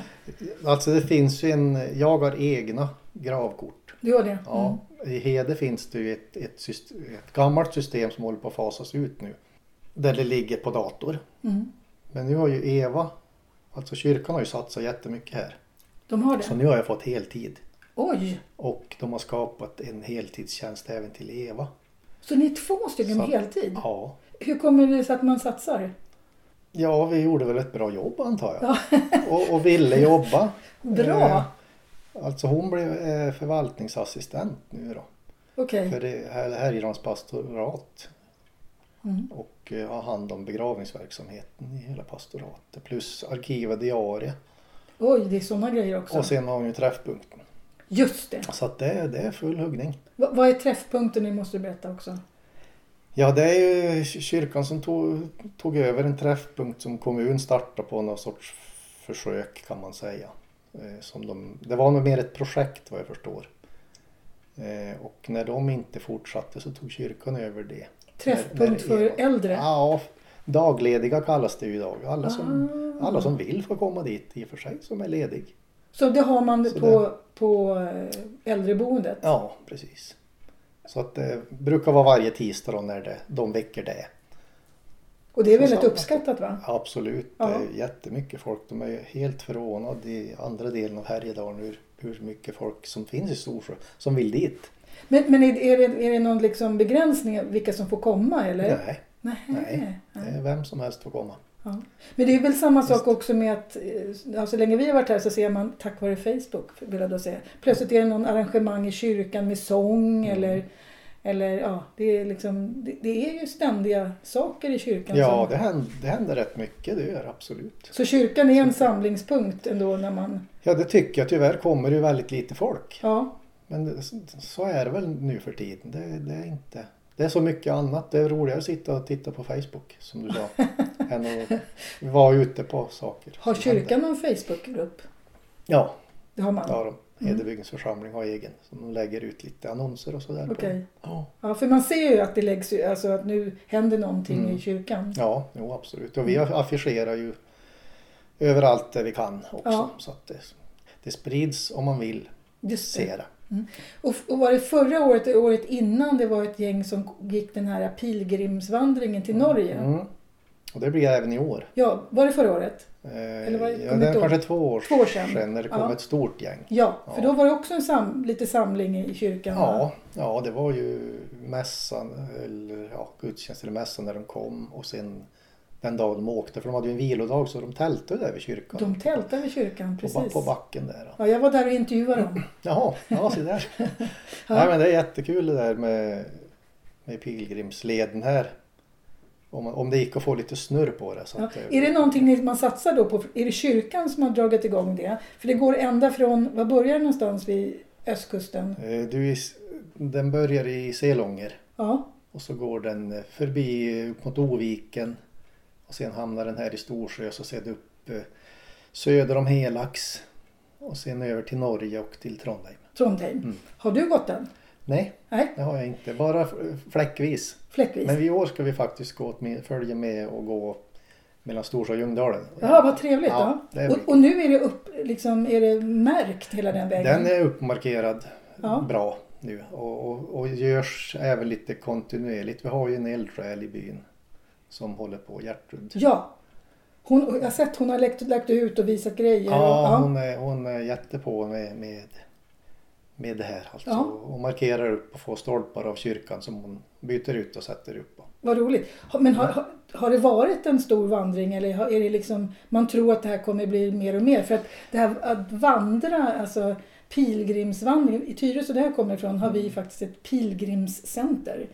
alltså det finns ju en, jag har egna gravkort.
Du gör det?
Ja,
Mm.
I Hede finns det ju ett, ett, syst- ett gammalt system som håller på att fasas ut nu. Där det ligger på dator.
Mm.
Men nu har ju Eva, alltså kyrkan har ju satsat jättemycket här.
De har
Så
det?
nu har jag fått heltid.
Oj!
Och de har skapat en heltidstjänst även till Eva.
Så ni är två stycken på
Så-
heltid?
Ja.
Hur kommer det sig att man satsar?
ja, vi gjorde väl ett bra jobb antar jag. Och, och ville jobba. Eh.
Bra!
Alltså hon blev eh, förvaltningsassistent nu då.
Okej.
För det här Härjedalens pastorat.
Mm.
Och eh, har hand om begravningsverksamheten i hela pastoratet. Plus arkiv och diarie.
Oj, det är sådana grejer också.
Och sen har hon ju träffpunkten.
Just det!
Så att det, det är full huggning.
Va- vad är träffpunkten? Det måste du berätta också.
Ja, det är ju kyrkan som tog, tog över en träffpunkt som kommun startade på någon sorts försök kan man säga. Eh, Som de, det var nog mer ett projekt vad jag förstår. Eh, Och när de inte fortsatte så tog kyrkan över det. När- när
Träffpunkt
det
för
är-
äldre?
Ja, daglediga kallas det ju idag. Alla som,
Ah.
alla som vill får komma dit i och för sig som är ledig.
Så det har man
Så
på, på eh, äldreboendet?
Ja, precis. Så att det brukar vara varje tisdag då när det, de väcker det.
Och det är väldigt
Samma.
uppskattat va?
Absolut,
Ja.
det är jättemycket folk. De är helt förvånade i andra delen av Härjedalen hur, hur mycket folk som finns i Storsjö som vill dit.
Men, men är, det- är, det, är det någon liksom begränsning vilka som får komma eller?
Nej,
Nej.
Nej.
Ja.
det är vem som helst får komma.
Ja. Men det är väl samma sak också med att eh, ja, så länge vi har varit här så ser man tack vare Facebook vill jag då säga. Plötsligt är det någon arrangemang i kyrkan med sång
Mm.
eller, eller ja, det är liksom det, det är ju ständiga saker i kyrkan.
Ja,
som,
det händer, det händer rätt mycket, det gör det absolut.
Så kyrkan är en samlingspunkt ändå när man,
Ja, det tycker jag. Tyvärr kommer det ju väldigt lite folk.
ja,
Men det- så- så är det väl nu för tiden. Det, det är inte... Det är så mycket annat. Det är roligare att sitta och titta på Facebook som du sa. än att vara ute på saker.
har
som händer.
kyrkan någon Facebookgrupp?
Ja,
Det har man.
det har de.
Mm.
Hedebygdens församling har egen. Som de lägger ut lite annonser och sådär på.
Okej.
Ja.
Ja, för man ser ju att det läggs, ju- alltså att nu händer någonting
Mm.
i kyrkan.
Ja, jo absolut. Och vi
Mm.
affischerar ju överallt där vi kan också.
Ja.
Så att det, det sprids om man vill
Just det.
se det.
Och, och var det förra året, eller året innan, det var ett gäng som gick den här pilgrimsvandringen till Norge?
Mm. Och det blir även i år.
Ja, var det förra året?
Eller
var det-
ja,
kom
det
ett
är
år-
kanske två år,
två år sedan?
när det kom
Ja.
ett stort gäng.
Ja, för
Ja.
då var det också en sam, lite samling i kyrkan. va?
Ja, ja, det var ju mässan, eller ja, gudstjänst eller mässan när de kom och sen den dagen de åkte. För de hade ju en vilodag så de tältade där vid kyrkan.
De tältade i kyrkan,
på, ba- Mm.
precis.
på backen där. då.
Ja, jag var där och intervjuade dem.
Jaha, ja se där. Nej men det är jättekul det där med, med pilgrimsleden här. Om, man- om det gick att få lite snurr på det. Så
Ja.
att, eh,
Är det någonting ni- man satsar då på? Är det kyrkan som har dragit igång det? För det går ända från, var börjar det någonstans vid östkusten?
Eh, Du, is- den börjar i Selånger.
Ja,
Och så går den eh, förbi upp mot Oviken. Och sen hamnar den här i Storsjö så ser det upp eh, söder om Helax. Och sen över till Norge och till Trondheim.
Trondheim.
Mm.
Har du gått den?
Nej,
Nej,
det har jag inte. Bara f- fläckvis.
fläckvis.
Men i år ska vi faktiskt gå åt med, följa med och gå mellan Storsjö och Ljungdalen.
Jaha, vad trevligt.
Ja,
Ja,
det är
och, och nu är det, upp, liksom, är det märkt hela den vägen?
Den är uppmarkerad
Ja.
bra nu och, och, och görs även lite kontinuerligt. Vi har ju en eldsjäl i byn som håller på, Gertrud.
Ja. Hon, jag har sett hon har lagt, lagt ut och visat grejer. och,
Ja, hon är, hon är jättepå med, med, med det här. Alltså.
Ja.
Hon markerar upp och får stolpar av kyrkan som hon byter ut och sätter upp.
Vad roligt. Har- Men har, har, har det varit en stor vandring eller har, är det liksom, man tror att det här kommer bli mer och mer? För att det här att vandra, alltså pilgrimsvandring, i Tyresö där jag kommer ifrån har
Mm.
vi faktiskt ett pilgrimscenter.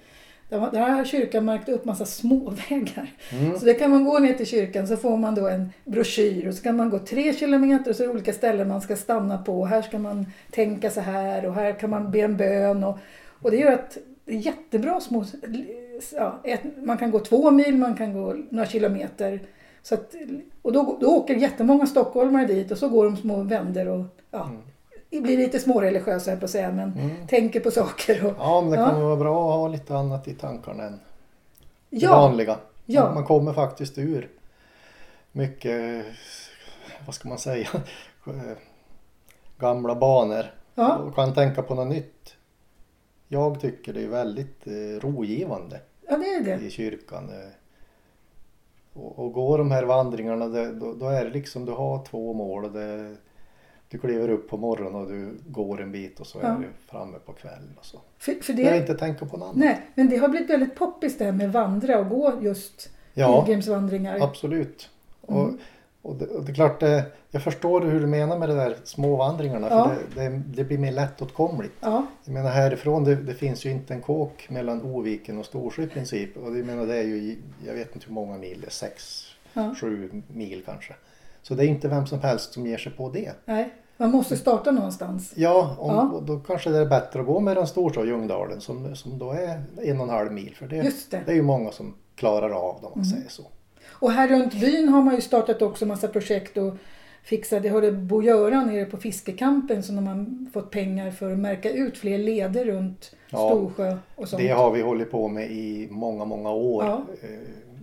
Där var- där har kyrkan märkt upp massa småvägar.
Mm.
Så där kan man gå ner till kyrkan så får man då en broschyr och så kan man gå tre kilometer och så är det olika ställen man ska stanna på. Och här ska man tänka så här och här kan man be en bön. Och, och det gör att det är jättebra små... Ja, ett, man kan gå två mil, man kan gå några kilometer. Så att, och då, då åker jättemånga stockholmare dit och så går de små vänder och ja, blir lite småreligiösa här på att säga, men
Mm.
tänker på saker. Och,
Ja, men det
Ja.
kommer vara bra att ha lite annat i tankarna än det
ja,
vanliga.
Ja.
Man kommer faktiskt ur mycket, vad ska man säga, gamla banor
ja,
och kan tänka på något nytt. Jag tycker det är väldigt eh, rogivande.
ja, det är det.
i kyrkan. eh. Och, och går de här vandringarna, det, då, då är det liksom, du har två mål. och Det, Du kliver upp på morgonen och du går en bit och så
Ja.
är du framme på kvällen. Och så.
För, för
Jag har
det,
inte tänka på något annat.
nej, men det har blivit väldigt poppis det här med vandra och gå just
Ja,
pilgrimsvandringar.
absolut. Och,
Mm.
och, det, och det är klart, det, jag förstår hur du menar med de där små vandringarna. För
Ja.
det, det, det blir mer lättåtkomligt.
Ja,
Jag menar härifrån, det, det finns ju inte en kåk mellan Oviken och Storsjö i princip. Och det, jag menar, det är ju, i- jag vet inte hur många mil, det är sex,
ja,
sju mil kanske. Så det är inte vem som helst som ger sig på det.
nej. Man måste starta någonstans.
Ja, om,
Ja.
och då kanske det är bättre att gå mellan Storsjö och Ljungdalen som, som då är en och en halv mil. För det,
Just Mm. det.
det är ju många som klarar av det om man säger så.
Och här runt byn har man ju startat också massa projekt och fixat. Jag hörde Bo-Göran nere på fiskekampen som de har fått pengar för att märka ut fler leder runt
Ja,
Storsjö och sånt.
Det har vi hållit på med i många, många år.
Ja.
eh,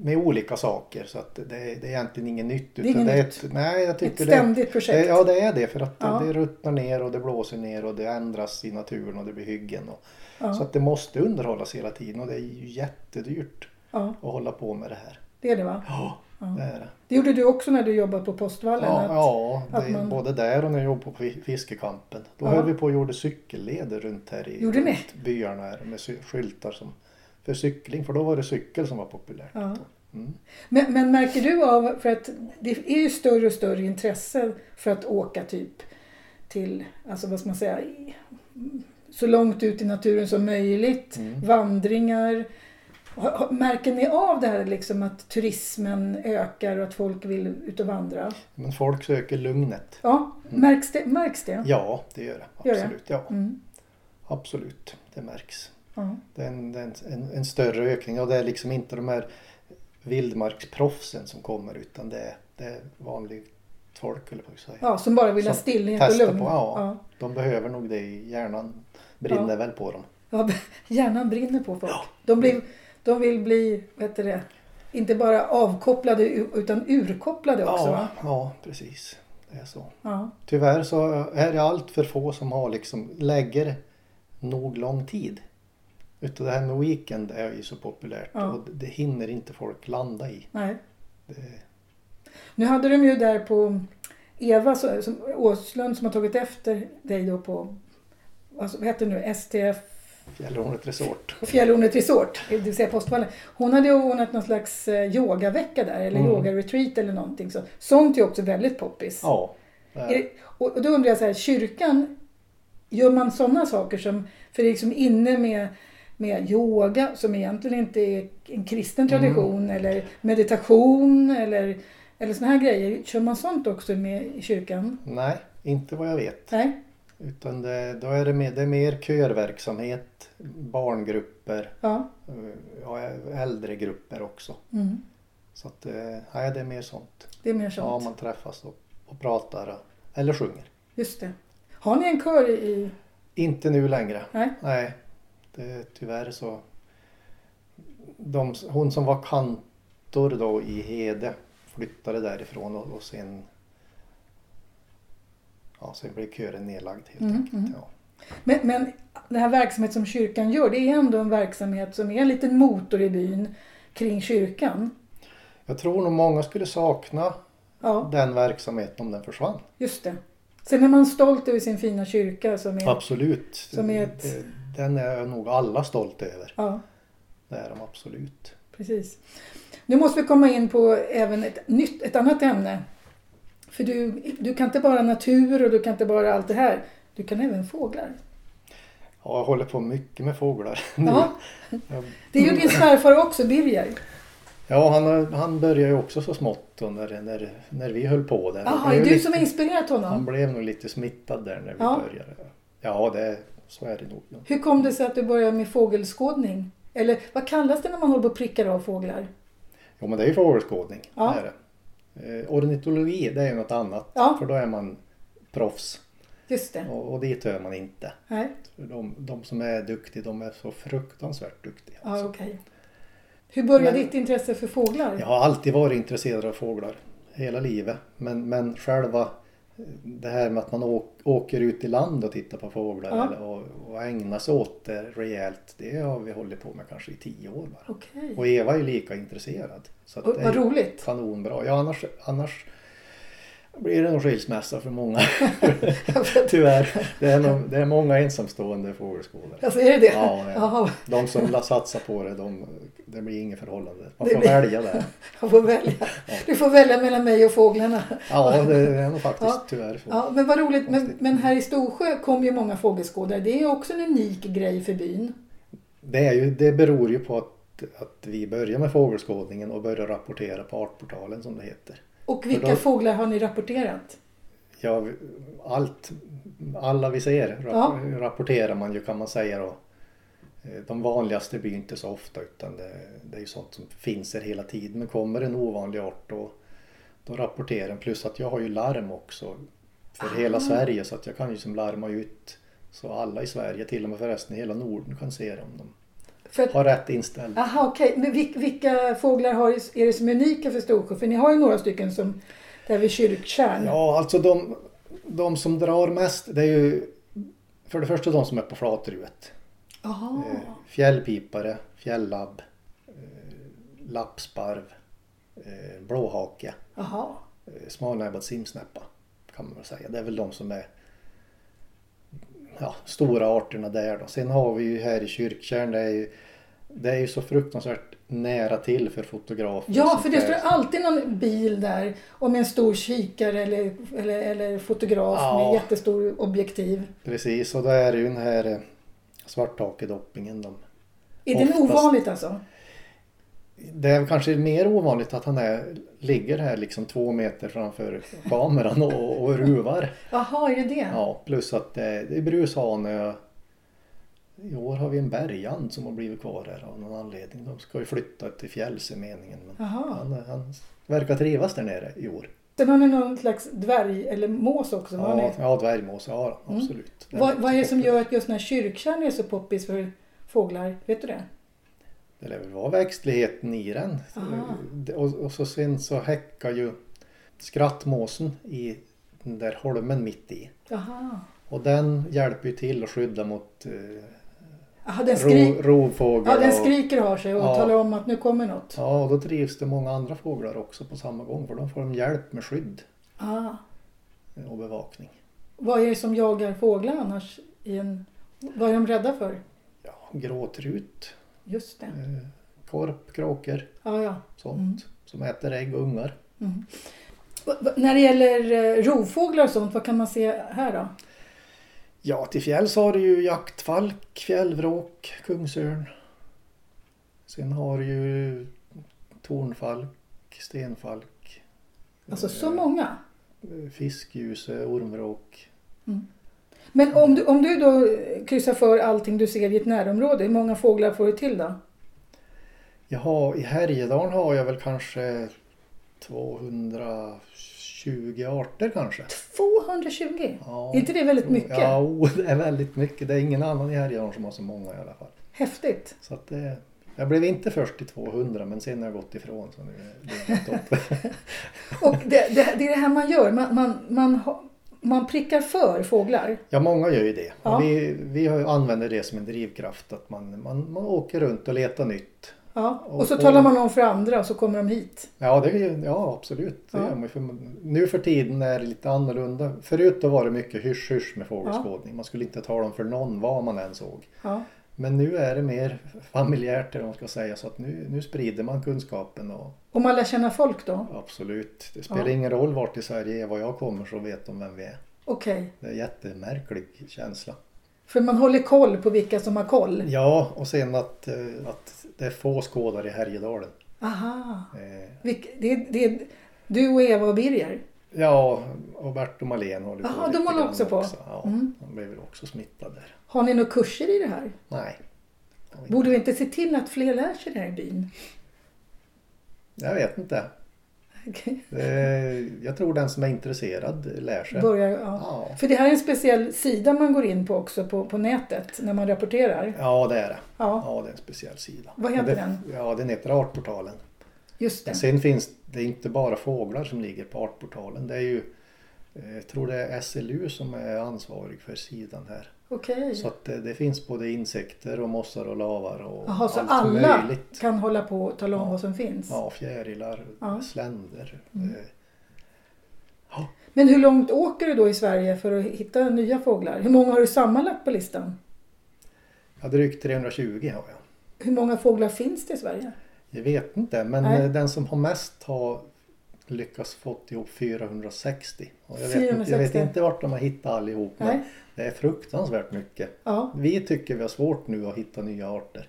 Med olika saker så att det, det är egentligen inget nytt.
är inget
det är
nytt.
ett, nej, jag
Ett
tycker det,
ständigt
det,
projekt.
Ja, det är det för att det-
Ja.
det ruttnar ner och det blåser ner och det ändras i naturen och det blir hyggen. Och,
Ja,
Så att det måste underhållas hela tiden och det är ju jättedyrt
ja,
att hålla på med det här.
det är det va?
Ja, det är det.
Det gjorde du också när du jobbade på Postvallen.
Ja,
att-
ja det,
att man-
både där och när jag jobbade på fi- fiskekampen. Då
Ja.
höll vi på och gjorde cykelleder runt här i
Gjorde ni?
runt byarna här med sy- skyltar som, för cykling. För då var det cykel som var populärt.
Ja.
Mm.
Men, men märker du av, för att det är ju större och större intresse för att åka typ till, alltså vad ska man säga, i- så långt ut i naturen som möjligt,
Mm.
vandringar. Har- har- Märker ni av det här liksom att turismen ökar och att folk vill ut och vandra?
Men folk söker lugnet.
Ja,
Mm.
märks det? Märks det?
Ja, det gör det.
Gör det?
Absolut. Ja,
Mm.
absolut. Det märks.
Ja.
Det är en, det är en, en, en större ökning och det är liksom inte de här vildmarksproffsen som kommer utan det är, det är vanligt folk, eller på att säga.
ja, som bara vill ha
Som
stillhet och
Testa
lugn.
på, ja.
Ja.
De behöver nog det. i Hjärnan brinner
Ja.
väl på dem.
Ja, hjärnan brinner på folk. De, blir, de vill bli, vad heter det, inte bara avkopplade u- utan urkopplade också.
ja,
Va?
ja, precis. Det är så.
Ja.
Tyvärr så är det allt för få som har liksom, lägger nog lång tid. Utan det här med weekend är ju så populärt
Ja.
och det hinner inte folk landa i.
Nej.
Det,
Nu hade de ju där på Eva så- som, Åslund som har tagit efter dig då på, alltså, vad heter det nu, STF
Fjällhornet Resort.
Fjällhornet Resort, det vill säga Postvallen. Hon hade ju ordnat någon slags eh, yogavecka där eller
Mm.
yogaretreat eller någonting. Så, sånt är ju också väldigt poppis.
Ja. det
Är
är-
det- Och och då undrar jag så här, kyrkan, gör man sådana saker som, för det är liksom inne med, med yoga som egentligen inte är en kristen
Mm.
tradition eller meditation eller, eller sådana här grejer. Kör man sånt också med i kyrkan?
Nej, inte vad jag vet.
Nej?
Utan det, då är det, mer, det är mer körverksamhet, barngrupper,
Ja.
eh, ja, äldre grupper också.
Mm.
Så att, eh, nej, det är mer sånt.
Det är mer
Ja,
sånt.
man träffas och, och pratar och, eller sjunger.
Just det. Har ni en kör i...
Inte nu längre.
Nej?
Nej, det, tyvärr så. De, hon som var kantor då i Hede flyttade därifrån och, och sen Ja, sen blev kören nedlagd helt
Mm,
enkelt.
mm.
Ja.
Men, men den här verksamheten som kyrkan gör, det är ändå en verksamhet som är en liten motor i byn kring kyrkan.
Jag tror nog många skulle sakna
Ja.
den verksamheten om den försvann.
Just det. Sen är man stolt över sin fina kyrka som är...
Absolut. Eh,
Som är ett-
Den är nog alla stolta över.
Ja,
Det är de absolut.
precis. Nu måste vi komma in på även ett, nytt, ett annat ämne. För du, du kan inte bara natur och du kan inte bara allt det här. Du kan även fåglar.
Ja, jag håller på mycket med fåglar nu.
Ja,
Jag
det gjorde din svärfar också, Birger.
Ja, han, har- han började ju också så smått då när, när, när vi höll på där.
Jaha,
Det
är
blev
du
lite-
som har inspirerat
Han
honom?
blev nog lite smittad där när vi
Ja.
började. Ja, det, så är det nog.
Hur kom det sig att du började med fågelskådning? Eller vad kallas det när man håller på och prickar av fåglar?
Jo, men det är ju fågelskådning.
Ja.
Det är det. Eh, ornitologi, det är ju något annat.
Ja.
För då är man proffs.
Just det.
Och, och dit hör man inte.
Nej,
För de, de som är duktiga, de är så fruktansvärt duktiga.
ja,
alltså.
okej. Hur började
Men-
ditt intresse för fåglar?
Jag har alltid varit intresserad av fåglar. Hela livet. Men, men själva eh, det här med att man åk, åker ut i land och tittar på fåglar
Ja.
eller, och, och ägnar sig åt det rejält. Det har vi hållit på med kanske i tio år bara.
Okej.
Och Eva är ju lika intresserad. Så att
Och
det är
Vad
ju
roligt.
kanonbra. Ja, annars, annars blir det nog skilsmässa för många.
Alltså,
Tyvärr. Det är, nog, det är många ensamstående fågelskådare.
Alltså är det det?
Ja, det är-
Jaha,
De som la- satsar på det, de, det blir inget förhållande. Man
Det
får
blir-
välja där.
jag får välja. Du får välja mellan mig och fåglarna.
Ja, det är nog faktiskt
Ja.
tyvärr så.
Ja, men vad roligt. Men, men här i Storsjö kom ju många fågelskådare. Det är ju också en unik grej för byn.
Det, är ju, det beror ju på att, att vi börjar med fågelskådningen och börjar rapportera på artportalen som det heter.
Och vilka
då-
fåglar har ni rapporterat?
Ja, vi- allt, alla vi ser rap,
Ja.
rapporterar man ju kan man säga då. Eh, De vanligaste blir ju inte så ofta utan det, det är ju sånt som finns där hela tiden. Men kommer en ovanlig art då, då rapporterar den. Plus att jag har ju larm också för
Ah.
hela Sverige så att jag kan ju som larma ut så alla i Sverige, till och med förresten i hela Norden kan se det om de
För att,
har rätt inställning.
aha, okej. Men vil, vilka fåglar har, är det som är unika för Storsjö? För ni har ju några stycken som där vid Kyrktjärn.
Ja, alltså de, de som drar mest det är ju för det första de som är på flatruet.
Aha.
Eh, Fjällpipare, fjällabb, eh, lappsparv, eh, blåhake,
Aha.
eh, smalnäbbad simsnäppa kan man väl säga. Det är väl de som är ja, stora arterna där då. Sen har vi ju här i Kyrktjärn, det är ju, det är ju så fruktansvärt nära till för fotografer.
Ja,
som
för det står
krävs.
alltid någon bil där och med en stor kikare eller, eller, eller fotograf
Ja.
med jättestor objektiv.
Precis, och då är det ju den här eh, svarttakedoppingen de
Är det
Oftast-
ovanligt alltså?
Det är kanske mer ovanligt att han är, ligger här liksom två meter framför kameran och, och ruvar.
Jaha, är det det?
Ja, plus att det, det är brushanö. I år har vi en bergand som har blivit kvar här av någon anledning. De ska ju flytta till fjälls är meningen. Men
Jaha.
han, han verkar trivas där nere i år.
Sen har ni någon slags dvärg eller mås också? vad har
Ja,
ni?
ja dvärgmås, ja absolut.
Vad, vad är det som gör att just den här kyrkkärran är så poppis för fåglar? Vet du det?
Det lär väl vara växtligheten i den.
Aha.
Det- Och, och så sen så häckar ju skrattmåsen i den där holmen mitt i.
Jaha.
Och den hjälper ju till att skydda mot eh,
Jaha, den, skri...
ro, rovfåglar.
ja, den
och-
skriker och har sig och
Ja.
talar om att nu kommer något.
Ja, och då trivs det många andra fåglar också på samma gång för de får de hjälp med skydd
Ah.
och bevakning.
Vad är det som jagar fåglar annars? I en... Vad är de rädda för?
Ja, gråtrut,
Just det.
eh, korp, kråkor,
Ja, ja.
sånt
Mm.
som äter ägg och ungar.
Mm. Va- va- När det gäller eh, rovfåglar och sånt, vad kan man se här då?
Ja, till fjälls har du ju jaktfalk, fjällvråk, kungsörn. Sen har du ju tornfalk, stenfalk,
Alltså så
eh,
många.
fiskljuse, ormvråk.
Men om du, om du då eh, kryssar för allting du ser i ett närområde, hur många fåglar får du till då?
Jaha, i Härjedalen har jag väl kanske 220 arter kanske.
220!
Ja,
Är inte det väldigt mycket?
Ja, o, det är väldigt mycket. Det är ingen annan i Härjedalen som har så många i alla fall.
Häftigt!
Så att det, jag blev inte först till 200 men sen har jag gått ifrån. Så nu ligger jag topp.
Och det, det, det är det här man gör, man, man, man, ha- man prickar för fåglar.
Ja, många gör ju det.
Ja.
Och vi, vi har ju- använder det som en drivkraft att man, man, man åker runt och letar nytt.
Ja. Och så
Och-
talar man om för andra och så kommer de hit.
Ja, det, är ju- ja absolut. Det
Ja.
gör man ju. För man- nu för tiden är det lite annorlunda. Förut då var det mycket hysch-hysch med fågelskådning. Man skulle inte tala om för någon vad man än såg.
Ja.
Men nu är det mer familjärt eller vad man ska säga. Så att nu, nu sprider man kunskapen. Och,
Och man lär känna folk då?
absolut. Det spelar
Ja.
ingen roll vart i Sverige är var jag kommer så vet de vem vi är.
Okej.
Det är en jättemärklig känsla.
För man håller koll på vilka som har koll.
Ja, och sen att, eh, att det är få skådare i Härjedalen.
Aha!
Eh,
Vilk, det, det, du och Eva och Birger?
Ja, och Bert och Malén håller
Jaha,
lite
de håller
grann
också på.
Ja,
Mm.
De blev väl också smittade där.
Har ni några kurser i det här?
Nej. Jag vet-
Borde vi inte se till att fler lär sig det här i byn?
Jag vet inte.
Okej.
Eh, Jag tror den som är intresserad lär sig.
Börjar, ja.
Ja.
För det här är en speciell sida man går in på också på, på nätet när man rapporterar.
ja, det är det.
Ja,
Ja, det är en speciell sida.
Vad heter
Men
den?
Ja, den heter Artportalen.
just det.
Sen finns det inte bara fåglar som ligger på Artportalen. Det är ju, eh, jag tror det är SLU som är ansvarig för sidan här.
Okej.
Så att eh, det, det finns både insekter och mossar och lavar och
Jaha, så
allt
alla
möjligt.
kan hålla på och tala om vad som finns. Mm.
Ja, fjärilar,
Ja.
sländer. eh,
Men hur långt åker du då i Sverige för att hitta nya fåglar? Hur många har du sammanlagt på listan?
Ja, drygt 320 har jag.
Hur många fåglar finns det i Sverige?
Jag vet inte, men
Nej.
eh, den som har mest har lyckats fått ihop 460. Och jag, Vet, inte- jag vet
460.
inte vart de har hittat allihop, men
Nej.
det är fruktansvärt mycket.
Ja.
Vi tycker vi har svårt nu att hitta nya arter.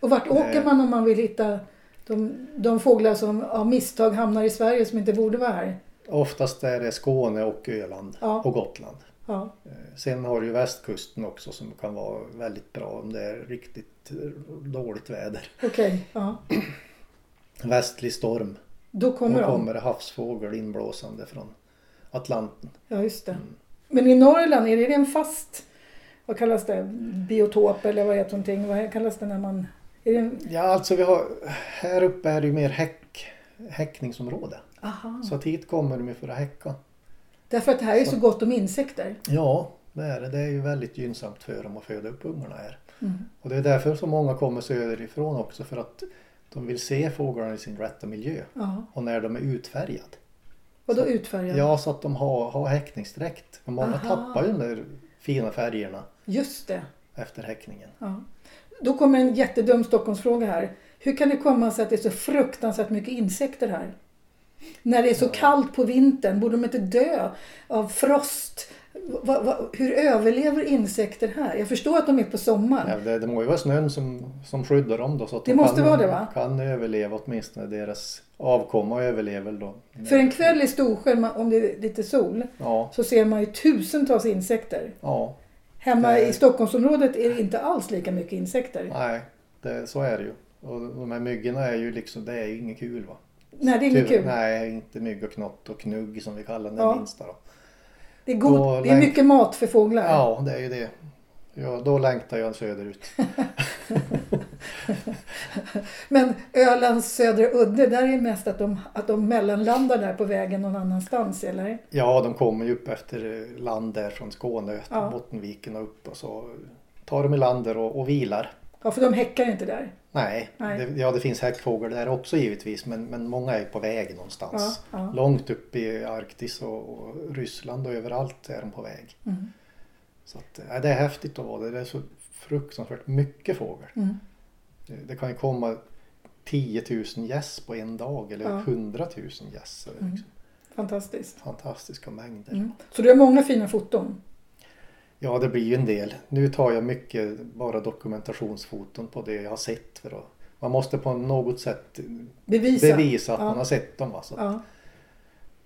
Och vart åker
Eh.
man om man vill hitta de, de fåglar som av misstag hamnar i Sverige som inte borde vara här?
Oftast är det Skåne och Öland
Ja.
och Gotland.
Ja.
Eh, Sen har du ju västkusten också som kan vara väldigt bra om det är riktigt eh, dåligt väder.
Okej, ja.
Västlig storm.
då kommer
Då
de.
kommer det havsfågel inblåsande från Atlanten.
Ja, just det. Men i Norrland, är det en fast, vad kallas det, biotop eller vad heter någonting? Vad kallas det när man... Är det en,
Ja, alltså vi har, här uppe är det ju mer häck, häckningsområde.
aha.
Så att hit kommer de ju för att häcka.
Därför att det här är så gott om insekter.
Ja, det är det. Det är ju väldigt gynnsamt för dem att föda upp ungarna här.
Mm.
Och det är därför så många kommer söderifrån också för att de vill se fåglarna i sin rätta miljö.
Ja.
Och när de är utfärgade.
Vadå utfärgade?
Ja, så att de har, har häckningsdräkt. Och många
Aha.
tappar ju de där fina färgerna
Just det.
efter häckningen.
Ja. Då kommer en jättedum Stockholmsfråga här. Hur kan det komma sig att det är så fruktansvärt mycket insekter här? När det är så kallt på vintern, borde de inte dö av frost? Va, va, hur överlever insekter här? Jag förstår att de är på sommaren.
Ja, det, det må ju vara snön som, som skyddar dem då. Så att
Det
de
måste
kan,
vara det, va?
kan överleva åtminstone deras avkomma överlever väl då.
För en kväll i Storsjön, ma- om det är lite sol,
Ja,
så ser man ju tusentals insekter.
ja,
Hemma
Nej.
i Stockholmsområdet är det inte alls lika mycket insekter.
nej, det, så är det ju. Och de här myggorna är ju liksom, det är ju inget kul va?
Nej, det är inget
Tyvärr-
kul.
Nej, inte mygg och knott och knugg som vi kallar den
Ja.
minsta då.
Det är, god,
Då
det är
länk-
mycket mat för fåglar.
Ja, det är ju det. Ja, då längtar jag söderut.
Men Ölands södra udde, där är mest att de, att de mellanlandar där på vägen någon annanstans, eller?
Ja, de kommer ju upp efter eh, land där från Skåne, efter
Ja.
Bottenviken och upp och så tar de i land där och, och vilar.
Ja, för de häckar inte där.
Nej,
Nej.
Det, ja det finns häckfågel där också givetvis men, men många är på väg någonstans.
Ja, ja.
Långt upp i Arktis och, och Ryssland och överallt är de på väg.
Mm.
Så att, nej, det är häftigt att vara där. Det är så fruktansvärt mycket fågel.
Mm.
Det, det kan ju komma 10 000 gäss på en dag eller
Ja. Mm.
100 000 gäss. Det är Liksom.
Fantastiskt.
Fantastiska mängder.
Mm. Så du har många fina foton.
Ja, det blir ju en del. Nu tar jag mycket bara dokumentationsfoton på det jag har sett. För att, man måste på något sätt
Bevisa.
bevisa att
Ja.
man har sett dem. Va? Så att-
Ja.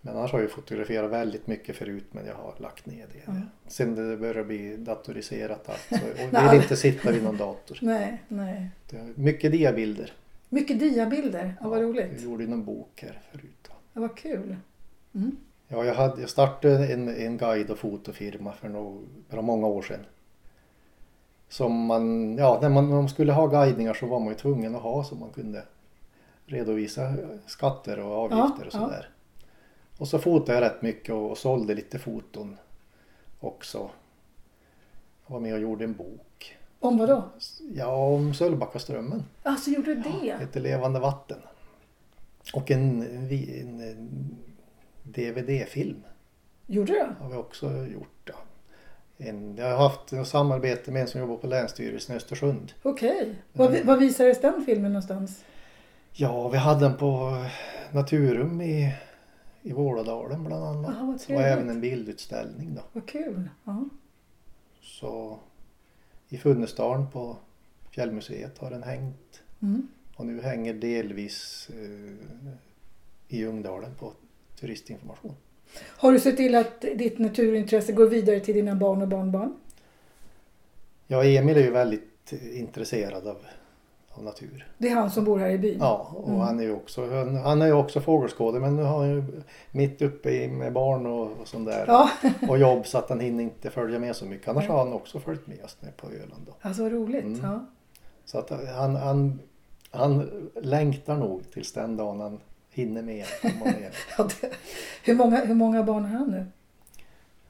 Men annars har jag fotograferat väldigt mycket förut men jag har lagt ner det.
Ja.
Sen det börjar bli datoriserat allt så jag
Nej.
vill inte sitta vid någon dator.
Nej, nej.
Det är Mycket diabilder.
Mycket diabilder. Ja, vad
Jag
roligt.
gjorde ju någon bok här förut.
Ja, vad kul.
Ja, jag, hade, jag startade en, en guide och fotofirma för, nog, för många år sedan. Som man, ja, när man, när man skulle ha guidningar så var man ju tvungen att ha så man kunde redovisa skatter och avgifter
Ja,
och
ja.
sådär. Och så fotade jag rätt mycket och, och sålde lite foton också. Jag var med och gjorde en bok.
Om vad då?
Ja, om Sölvbackaströmmen,
Alltså, gjorde du det?
ett levande vatten. Och en, vi- en, en DVD-film
Gjorde du?
har vi också gjort. Ja. En, jag har haft ett samarbete med en som jobbar på Länsstyrelsen i Östersund. Mm.
Okej. Var, vi- var visades den filmen någonstans?
Ja, vi hade den på eh, Naturum i, i Vålådalen bland annat.
Aha, Ah, vad
och
trevligt.
även en bildutställning då.
Vad kul. Ja.
Så i Funnesdalen på Fjällmuseet har den hängt.
Mm.
Och nu hänger delvis eh, i Ljungdalen på turistinformation.
Har du sett till att ditt naturintresse går vidare till dina barn och barnbarn?
Ja, Emil är ju väldigt eh, intresserad av, av natur.
Det är han som bor här i byn?
Ja, och
Mm.
han är ju också, han, han är ju också fågelskådare men nu har han ju mitt uppe i med barn och, och sånt där
Ja,
och jobb så att han hinner inte följa med så mycket. Annars har han också följt med oss ner på Öland. Då.
alltså vad roligt.
Mm.
Ja.
Så att eh, han, han, han längtar nog tills den dagen han hinner med att komma med.
Ja, det, hur, många, hur många barn har han nu?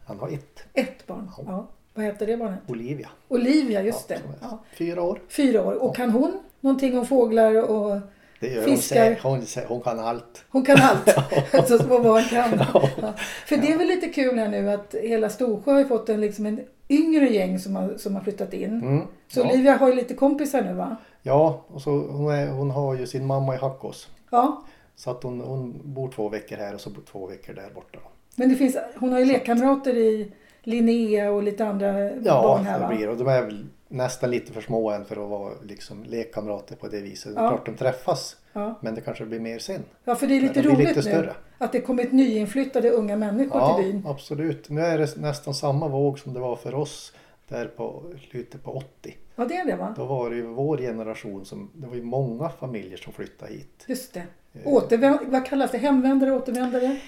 Han har ett,
Ett barn?
Ja.
Ja. Vad heter det barnet?
Olivia.
Olivia, just
Ja,
det.
som är
Ja.
Fyra år.
Fyra år. Och kan hon någonting om fåglar och
Det gör hon,
Fiskar.
säkert. hon, sä- hon kan allt.
Hon kan allt. så små barn kan.
Ja.
Ja. För det är väl lite kul här nu att hela Storsjö har ju fått en, liksom en yngre gäng som har, som har flyttat in.
Mm.
Så
ja.
Olivia har ju lite kompisar nu va?
ja, och så hon, är, hon har ju sin mamma i Hackås.
Ja.
Så att hon, hon bor två veckor här och så bor två veckor där borta.
Men det finns, hon har ju lekkamrater i Linnea och lite andra
Ja,
barn här va?
det blir Och de är väl nästan lite för små än för att vara liksom lekkamrater på det viset. Det är
Ja.
klart de träffas,
Ja.
men det kanske blir mer sen.
ja, för det är lite
de blir
roligt
lite
nu
större.
att det kommit nyinflyttade unga människor
Ja,
till byn.
absolut. Nu är det nästan samma våg som det var för oss där på slutet på 80.
Ja, det är det va?
Då var det ju vår generation som, det var ju många familjer som flyttade hit.
Just det.
Eh.
Återvä- vad kallas det? Hemvändare, återvändare?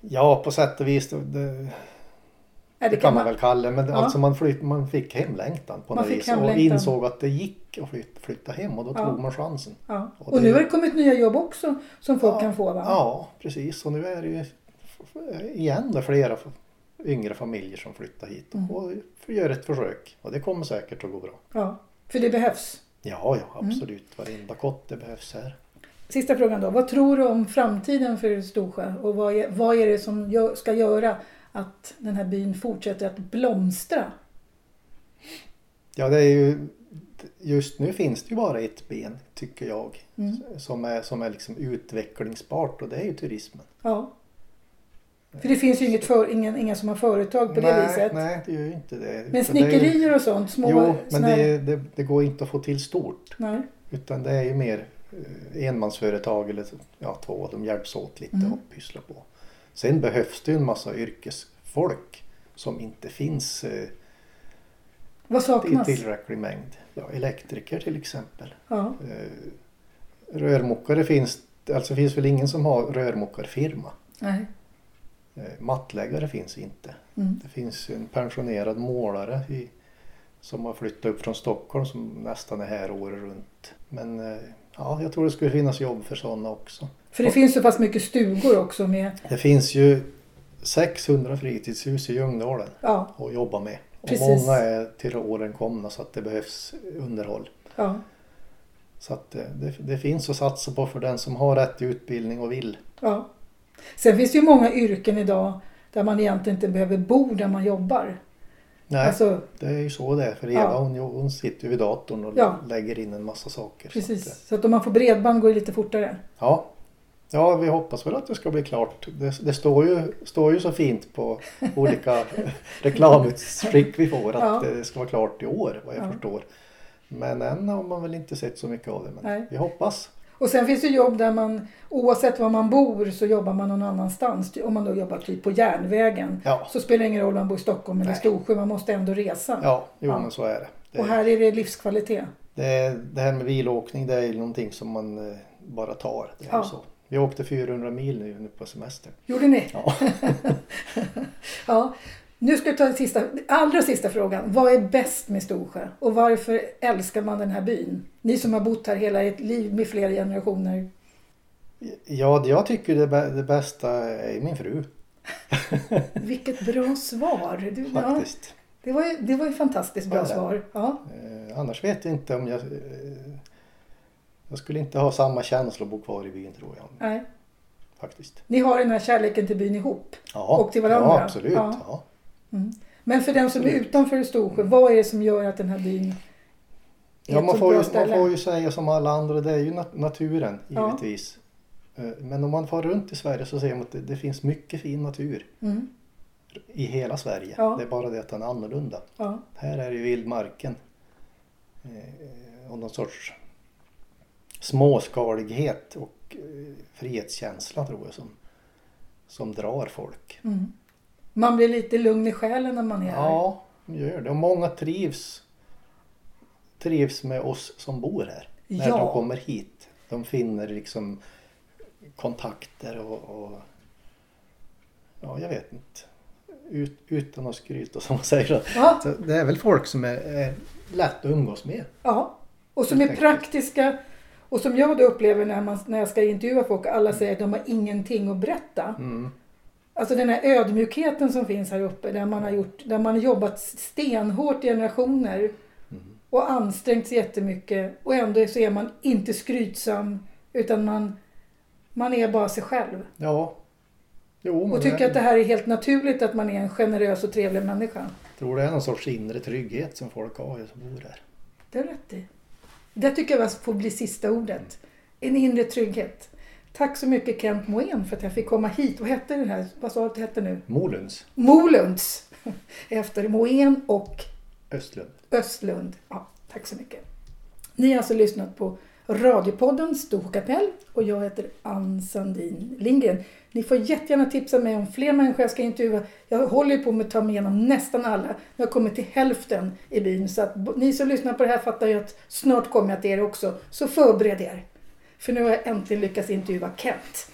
Ja, på sätt och vis, det, det,
Nej,
det kan man väl kalla det. Men
Ja.
alltså man, flytt, man fick hemlängtan på
Man
något
fick
vis och
hemlängtan.
insåg att det gick att flyt, flytta hem och då
Ja.
tog man chansen.
Ja.
Och
Och nu
det-
har det kommit nya jobb också som folk
Ja.
kan få va?
Ja, precis. Och nu är det ju f- f- igen då flera f- yngre familjer som flyttar hit
Mm.
och gör ett försök. Och det kommer säkert att gå bra.
Ja, För det behövs.
Ja, ja
Mm.
absolut. Varenda kotte behövs här.
Sista frågan då. Vad tror du om framtiden för Storsjö? Och vad är, vad är det som gö- ska göra att den här byn fortsätter att blomstra?
Ja, det är ju, just nu finns det ju bara ett ben, tycker jag,
Mm.
som är, som är liksom utvecklingsbart och det är ju turismen.
Ja. För det finns ju inget för, ingen, inga som har företag på det
nej,
viset.
nej, det gör ju inte det.
Men
Utan det är ju-
snickerier och sånt? Små,
Jo, men
såna här-
det, är- det, det går inte att få till stort.
Nej.
Utan det är ju mer eh, enmansföretag eller ja, två, de hjälps åt lite
Mm.
och pysslar på. Sen behövs det ju en massa yrkesfolk som inte finns eh,
Vad
i
saknas?
tillräcklig mängd. Ja, elektriker till exempel.
Ja.
Eh, rörmokare finns, alltså finns väl ingen som har rörmokarfirma.
Nej.
Eh, mattläggare finns inte.
Mm.
Det finns en pensionerad målare i, som har flyttat upp från Stockholm som nästan är här året runt. Men eh, ja, jag tror det skulle finnas jobb för sådana också.
För det finns så pass mycket stugor också med...
Det finns ju 600 fritidshus i Ljungdalen
Ja.
att jobba med. Och
Precis.
många är till åren komna så att det behövs underhåll.
ja.
Så att eh, det, det finns att satsa på för den som har rätt utbildning och vill.
Ja. Sen finns det ju många yrken idag där man egentligen inte behöver bo där man jobbar.
Nej,
Alltså,
det är ju så det är. För Eva
Ja.
hon, hon sitter ju vid datorn och
Ja.
lägger in en massa saker. Så att, eh,
precis. Så att om man får bredband går det lite fortare.
Ja. ja, vi hoppas väl att det ska bli klart. Det, det står, ju, står ju så fint på olika reklamutskick vi får att
Ja.
det ska vara klart i år vad jag
Ja.
förstår. Men än har man väl inte sett så mycket av det. Men
Nej.
vi hoppas.
Och sen finns det jobb där man oavsett var man bor så jobbar man någon annanstans. Om man då jobbar typ på järnvägen
Ja,
så spelar det ingen roll om man bor i Stockholm eller
Nej.
Storsjö. Man måste ändå resa.
ja jo
Ja.
men så är det.
Och
Det,
här är det livskvalitet.
det. Det här med bilåkning det är ju någonting som man eh, bara tar. Det är
Ja.
ju så. Vi åkte 400 mil nu, nu på semestern.
Gjorde ni?
Ja.
Ja. Nu ska jag ta den sista, allra sista frågan. Vad är bäst med Storsjö? Och varför älskar man den här byn? Ni som har bott här hela ert liv med flera generationer.
ja, det jag tycker det, bä- det bästa är min fru
Vilket bra svar! Du, ja,
faktiskt.
det, var ju, det var ju fantastiskt bra
Ja, det.
svar. Ja.
Eh, annars vet jag inte om jag... Eh, jag skulle inte ha samma känsla att bo kvar i byn tror jag.
Nej.
Faktiskt.
Ni har den här kärleken till byn ihop.
Ja,
Och till varandra.
Ja, absolut.
Ja.
Ja.
Men för den som är utanför Storsjö, vad är det som gör att den här byn är
Mm. Ja,
ett
man,
så
får ju,
bra
man
ställe?
får ju säga som alla andra, det är ju nat- naturen
Ja.
givetvis. Eh, Men om man far runt i Sverige så ser man att det, det finns mycket fin natur
Mm,
i hela Sverige.
Ja.
Det är bara det att den är annorlunda.
ja.
Här är det ju vildmarken. Eh, Och någon sorts småskalighet och eh, frihetskänsla tror jag som, som drar folk.
Mm. Man blir lite lugn i själen när man är här.
Ja, de gör det. Och många trivs, trivs med oss som bor här. När
Ja.
de kommer hit. De finner liksom kontakter och, och ja, jag vet inte. Ut, utan att skryta som man säger. så.
Ja,
Så det är väl folk som är, är lätt att umgås med.
ja. Och som är
Perfekt.
praktiska. Och som jag då upplever när, man, när jag ska intervjua folk, alla säger att de har ingenting att berätta.
Mm.
Alltså den här ödmjukheten som finns här uppe där man har, gjort, där man har jobbat stenhårt i generationer och ansträngt sig jättemycket och ändå så är man inte skrytsam, Utan man, man är bara sig själv.
Ja. Jo, men
Och tycker
jag
att det här är helt naturligt att man är en generös och trevlig människa.
tror det är någon sorts inre trygghet som folk har som bor där.
Det har du rätt i. Det tycker jag får bli sista ordet. En inre trygghet. Tack så mycket Kent Moen för att jag fick komma hit. Vad hette den här? Vad sa du att det hette nu?
Molunds,
Molunds! Efter Moen och
Östlund.
Östlund. Ja, tack så mycket. Ni har alltså lyssnat på radiopodden Storkapell och jag heter Ann Sandin Lindgren. Ni får jättegärna tipsa mig om fler människor jag ska intervjua. Jag håller ju på med att ta mig igenom nästan alla. Jag har kommit till hälften i byn så att bo- ni som lyssnar på det här fattar ju att snart kommer jag till er också. Så förbered er. För nu har jag äntligen lyckats intervjua Kent.